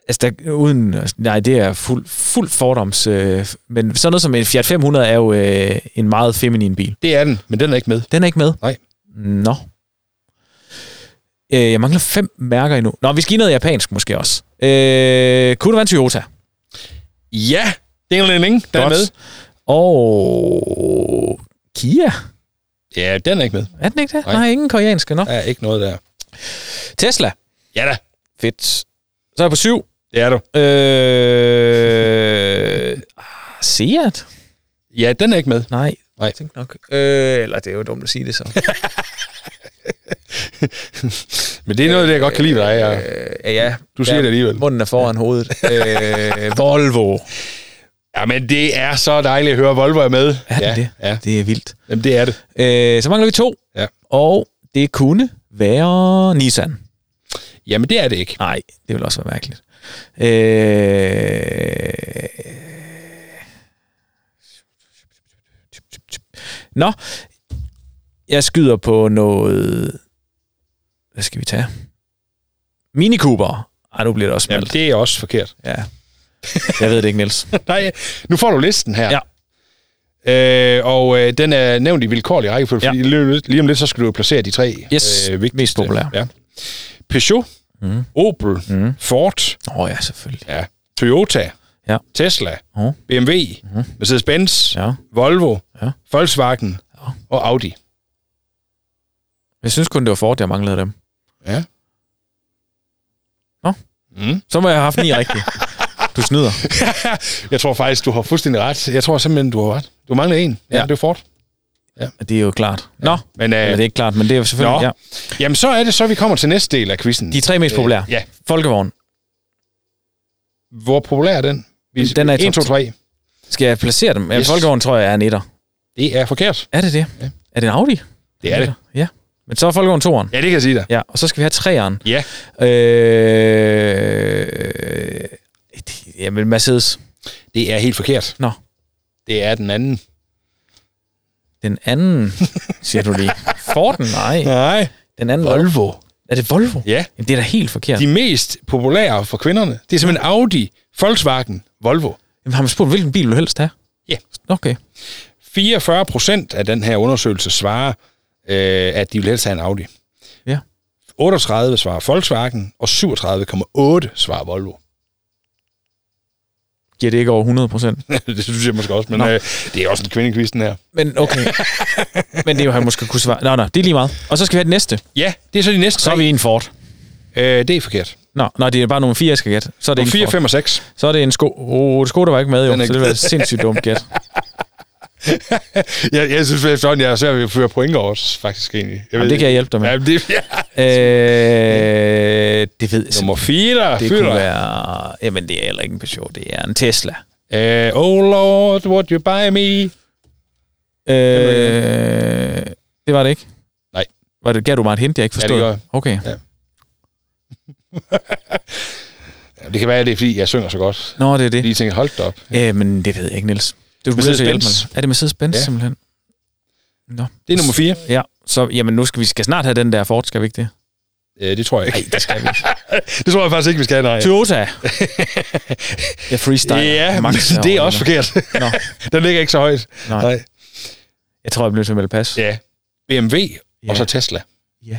B: altså der, uden, nej, det er fuld, fuld fordoms, øh, men sådan noget som en Fiat 500 er jo øh, en meget feminin bil.
C: Det er den, men den er ikke med.
B: Den er ikke med?
C: Nej.
B: Nå. Øh, jeg mangler fem mærker endnu. Nå, vi skal i noget japansk måske også. Øh, kunne det være en Toyota?
C: Ja, det er den der er med.
B: Godt. Og Kia?
C: Ja, den er ikke med.
B: Er den ikke det?
C: Nej.
B: Nej, Nej ingen koreanske. Nå.
C: Der er ikke noget der.
B: Tesla?
C: Ja da,
B: Fedt. Så er jeg på syv.
C: det er du.
B: Øh, ah, Seat?
C: Ja, den er ikke med.
B: Nej.
C: Nej.
B: Jeg tænkte nok. Øh, eller det er jo dumt at sige det så.
C: (laughs) Men det er noget, af det, jeg godt kan lide ved dig. Ja.
B: Øh, ja, ja.
C: Du siger
B: Ja,
C: det alligevel.
B: Munden er foran hovedet. øh, Volvo.
C: ja, men det er så dejligt at høre, at Volvo er med.
B: Er den
C: ja,
B: det?
C: Ja,
B: Det er vildt.
C: Jamen, det er det.
B: Øh, så mangler vi to.
C: Ja.
B: Og det kunne være Nissan.
C: Jamen, det er det ikke.
B: Nej, det vil også være mærkeligt. Øh... Nå, jeg skyder på noget... Hvad skal vi tage? Mini Cooper. Ej, nu bliver det også
C: Jamen,
B: smalt.
C: det er også forkert.
B: Ja. Jeg ved det ikke, Niels.
C: (laughs) Nej, nu får du listen her.
B: Ja.
C: Øh, og øh, den er nævnt i vilkårlig rækkefølge,
B: Ja.
C: fordi lige, lige om lidt, så skal du jo placere de tre
B: Yes,
C: øh, vigtigste.
B: mest populære.
C: Ja. Peugeot, mm. Opel, mm. Ford,
B: Åh oh, ja, selvfølgelig.
C: ja, Toyota,
B: Ja.
C: Tesla,
B: Mhm.
C: BMW, Mercedes-Benz,
B: Ja.
C: Volvo,
B: Ja.
C: Volkswagen og Audi.
B: Jeg synes kun, det var Ford, jeg manglede dem.
C: Ja.
B: Nå.
C: Mm.
B: Så må jeg have haft ni rigtigt. Du snyder.
C: (laughs) Jeg tror faktisk, du har fuldstændig ret. Jeg tror simpelthen, du har ret. Du mangler en. Ja,
B: Ja.
C: ja. det er Ford.
B: Det er jo klart. Nå,
C: Men, øh,
B: Eller det er ikke klart, men det er jo selvfølgelig...
C: Nå.
B: Ja.
C: Jamen, så er det så, vi kommer til næste del af quizzen.
B: De tre mest populære.
C: Øh, ja.
B: Folkevogn.
C: Hvor populær er den? Vi,
B: Den er i
C: 1, 2,
B: top
C: 3.
B: Skal jeg placere dem? Ja,
C: Yes.
B: Folkevogn tror jeg er en etter.
C: Det er forkert.
B: Er det det?
C: Ja.
B: Ja. Er det en Audi?
C: Det er det.
B: Ja. Men så er Folkevogn toeren.
C: Ja, det kan jeg sige dig.
B: Ja, og så skal vi have treeren.
C: Ja.
B: Øh... det- Jamen, Mercedes.
C: Det er helt forkert.
B: Nå,
C: Det er den anden.
B: den anden, siger du lige. Forden? Nej.
C: Nej.
B: Den anden.
C: Volvo.
B: Er det Volvo?
C: Ja.
B: Jamen, det er da helt forkert.
C: De mest populære for kvinderne, det er simpelthen Audi, Volkswagen, Volvo.
B: Jamen, har man spurgt, hvilken bil vil du helst have?
C: Ja.
B: Okay.
C: 44 procent af den her undersøgelse svarer, øh, at de vil helst have en Audi.
B: Ja.
C: 38 svarer Volkswagen, og 37,8 svarer Volvo. (laughs)
B: Giver det ikke over 100 procent?
C: det synes jeg måske også, men
B: Nå.
C: øh, det er også en kvindekvist, den her.
B: Men
C: (laughs)
B: okay. Men det er jo, han måske kunne svare. Nå, nå, det er lige meget. Og så skal vi have det næste.
C: Ja, det er så de næste
B: Så er vi i en Ford.
C: Øh, det er forkert.
B: Nå, nej, det er bare nummer 4, jeg skal gætte. Så er det
C: Det
B: en
C: 4,
B: Ford.
C: 5 og (laughs) 6.
B: Så er det en sko. Oh, sko, der var ikke med, jo.
C: Den er
B: Så det
C: ikke-
B: var et sindssygt dumt
C: (laughs)
B: gæt.
C: Jeg, jeg synes efterhånden, jeg er svært ved at føre point over os, faktisk egentlig. Jeg
B: Jamen, det kan jeg hjælpe dig med.
C: Ja, det, (laughs) ja.
B: Øh, det ved jeg
C: Nummer
B: simpelthen.
C: 4,
B: Det kunne være... Jamen, det er heller ikke en Peugeot. Det er en Tesla.
C: være... Uh, oh lord, would you buy me?
B: Øh, det var det ikke?
C: Nej.
B: Var det, gav du mig et hint, jeg ikke
C: Ja, det
B: forstod?
C: gør jeg.
B: Okay.
C: Jamen, Det kan være, det er, fordi jeg synger så godt.
B: Nå, det er
C: Jeg
B: det.
C: lige tænker, hold da op.
B: Øh, men det ved jeg ikke, Niels. Du er nødt til at hjælpe
C: Mercedes-Benz.
B: mig. Er det Mercedes-Benz,
C: Ja.
B: ja. simpelthen? Nå.
C: Det er nummer 4.
B: Ja, så jamen, nu skal vi skal snart have den der Ford, skal vi ikke det?
C: Øh, det tror jeg ikke.
B: det skal vi.
C: (laughs) Det tror jeg faktisk ikke, vi skal, nej. (laughs)
B: Toyota. Jeg freestyler.
C: Ja, men
B: Max
C: det er
B: herovre,
C: også
B: eller?
C: forkert.
B: Nå,
C: (laughs) Den ligger ikke så højt.
B: Nej. jeg tror, jeg bliver nødt til at melde pas.
C: Ja. BMW ja.
B: Ja.
C: og så Tesla.
B: Ja.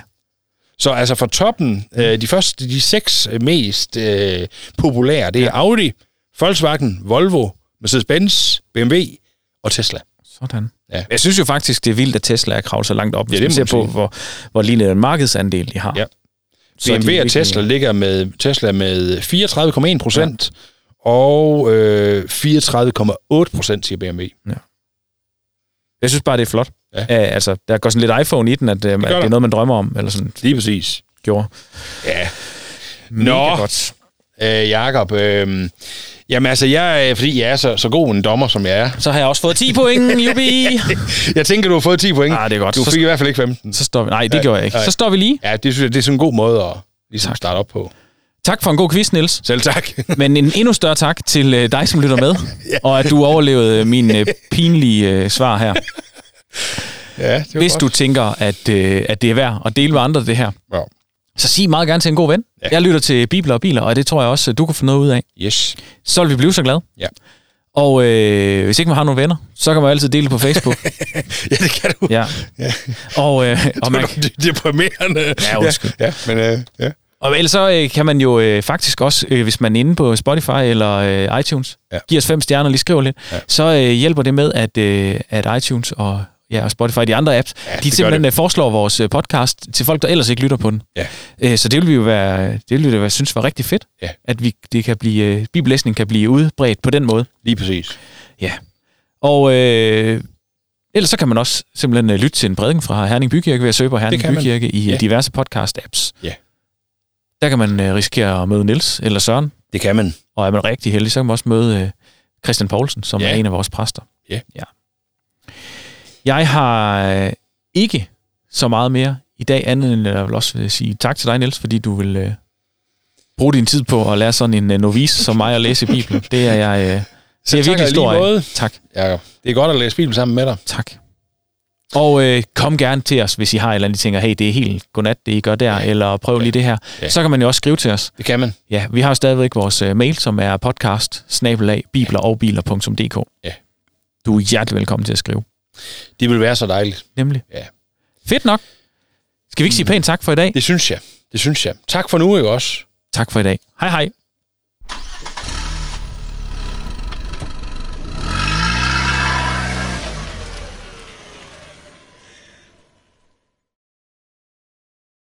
C: Så altså fra toppen, øh, de første, de seks øh, mest øh, populære, det er Audi, Volkswagen, Volvo, Mercedes-Benz, BMW og Tesla.
B: Sådan.
C: Ja.
B: Jeg synes jo faktisk, det er vildt, at Tesla er kravlet så langt op, hvis
C: Ja, det
B: man
C: må
B: ser
C: man
B: på,
C: sige.
B: hvor, hvor lille en markedsandel de har.
C: Ja.
B: Så er de
C: BMW og
B: virkelig-
C: Tesla ligger med Tesla med 34,1 procent, ja. og øh, 34,8 procent siger BMW.
B: Jeg synes bare, det er flot.
C: Ja.
B: Ja. altså, der går sådan lidt iPhone i den, at, øh, at det
C: der.
B: er noget, man drømmer om, eller sådan
C: Lige præcis.
B: gjorde.
C: Ja.
B: Mega
C: Nå,
B: godt.
C: øh, Jakob, øh, jamen altså, jeg, er- fordi jeg er så, så god en dommer, som jeg er,
B: Så har jeg også fået 10 (laughs) point, jubi!
C: jeg tænker, du har fået 10 point.
B: Ah, det er godt.
C: Du
B: Så-
C: fik i hvert fald ikke 15.
B: Så står vi... Nej, det gjorde jeg ikke.
C: nej.
B: Så står vi lige.
C: Ja, det synes jeg, det er sådan en god måde at ligesom starte op på.
B: Tak for en god quiz, Niels.
C: Selv tak.
B: Men en endnu større tak til øh, dig, som lytter
C: (laughs)
B: med, og at du overlevede øh, min øh, pinlige øh, svar her.
C: ja, det var
B: Hvis
C: godt.
B: du tænker, at, øh, at det er værd at dele med andre det her,
C: Ja.
B: så sig meget gerne til en god ven. Ja. Jeg lytter til Bibler og Biler, og det tror jeg også, du kan få noget ud af.
C: Yes.
B: Så vil vi blive så glade.
C: Ja.
B: Og øh, hvis ikke man har nogle venner, så kan man jo altid dele det på Facebook.
C: ja, det kan du.
B: ja. Og, øh, og, man,
C: Det er deprimerende.
B: Ja, undskyld.
C: Ja, ja men øh, ja.
B: og ellers så øh, kan man jo øh, faktisk også, øh, hvis man er inde på Spotify eller øh, iTunes,
C: Ja.
B: ja. giver os fem stjerner og lige skriver lidt,
C: Ja.
B: ja. så øh, hjælper det med, at, øh, at iTunes og, ja, og Spotify og de andre apps, ja, de
C: det gør
B: simpelthen
C: det.
B: øh, foreslår vores øh, podcast til folk, der ellers ikke lytter på den.
C: Ja.
B: Øh, så det ville vi jo være, det ville vi da være, synes var rigtig fedt,
C: Ja.
B: at vi, det kan blive, øh, bibellæsning kan blive udbredt på den måde.
C: Lige præcis.
B: Ja. Og øh, ellers så kan man også simpelthen øh, lytte til en prædiken fra Herning Bykirke ved at søge på Herning
C: kan man.
B: Bykirke i
C: Ja.
B: ja. diverse podcast-apps.
C: Ja.
B: Der kan man øh, risikere at møde Nils eller Søren,
C: Det kan man.
B: og er man rigtig heldig, så kan man også møde øh, Christian Poulsen, som
C: Ja.
B: ja. er en af vores præster.
C: Ja.
B: ja. Jeg har øh, ikke så meget mere i dag, andet end at jeg vil også vil sige tak til dig, Nils, fordi du vil øh, bruge din tid på at lære sådan en øh, novice som mig at læse Bibelen. Det er
C: (laughs)
B: jeg... Øh, det er
C: tak, og i
B: virkelig
C: lige
B: stor øh, af.
C: måde.
B: Tak.
C: Ja, det er godt at læse Bibelen sammen med dig.
B: Tak. Og øh, kom gerne til os, hvis I har et eller andet, I tænker, hey, det er helt godnat, det I gør der, eller prøv lige det her.
C: Ja.
B: Så kan man jo også skrive til os.
C: Det kan man.
B: Ja, vi har jo stadigvæk vores øh, mail, som er podcast bibler
C: Ja.
B: Du er hjertelig velkommen til at skrive.
C: Det vil være så dejligt.
B: Nemlig.
C: Ja.
B: Fedt nok. Skal vi ikke sige pænt tak for i dag?
C: Det synes jeg. Det synes jeg. Tak for nu, ikke også?
B: Tak for i dag. Hej hej.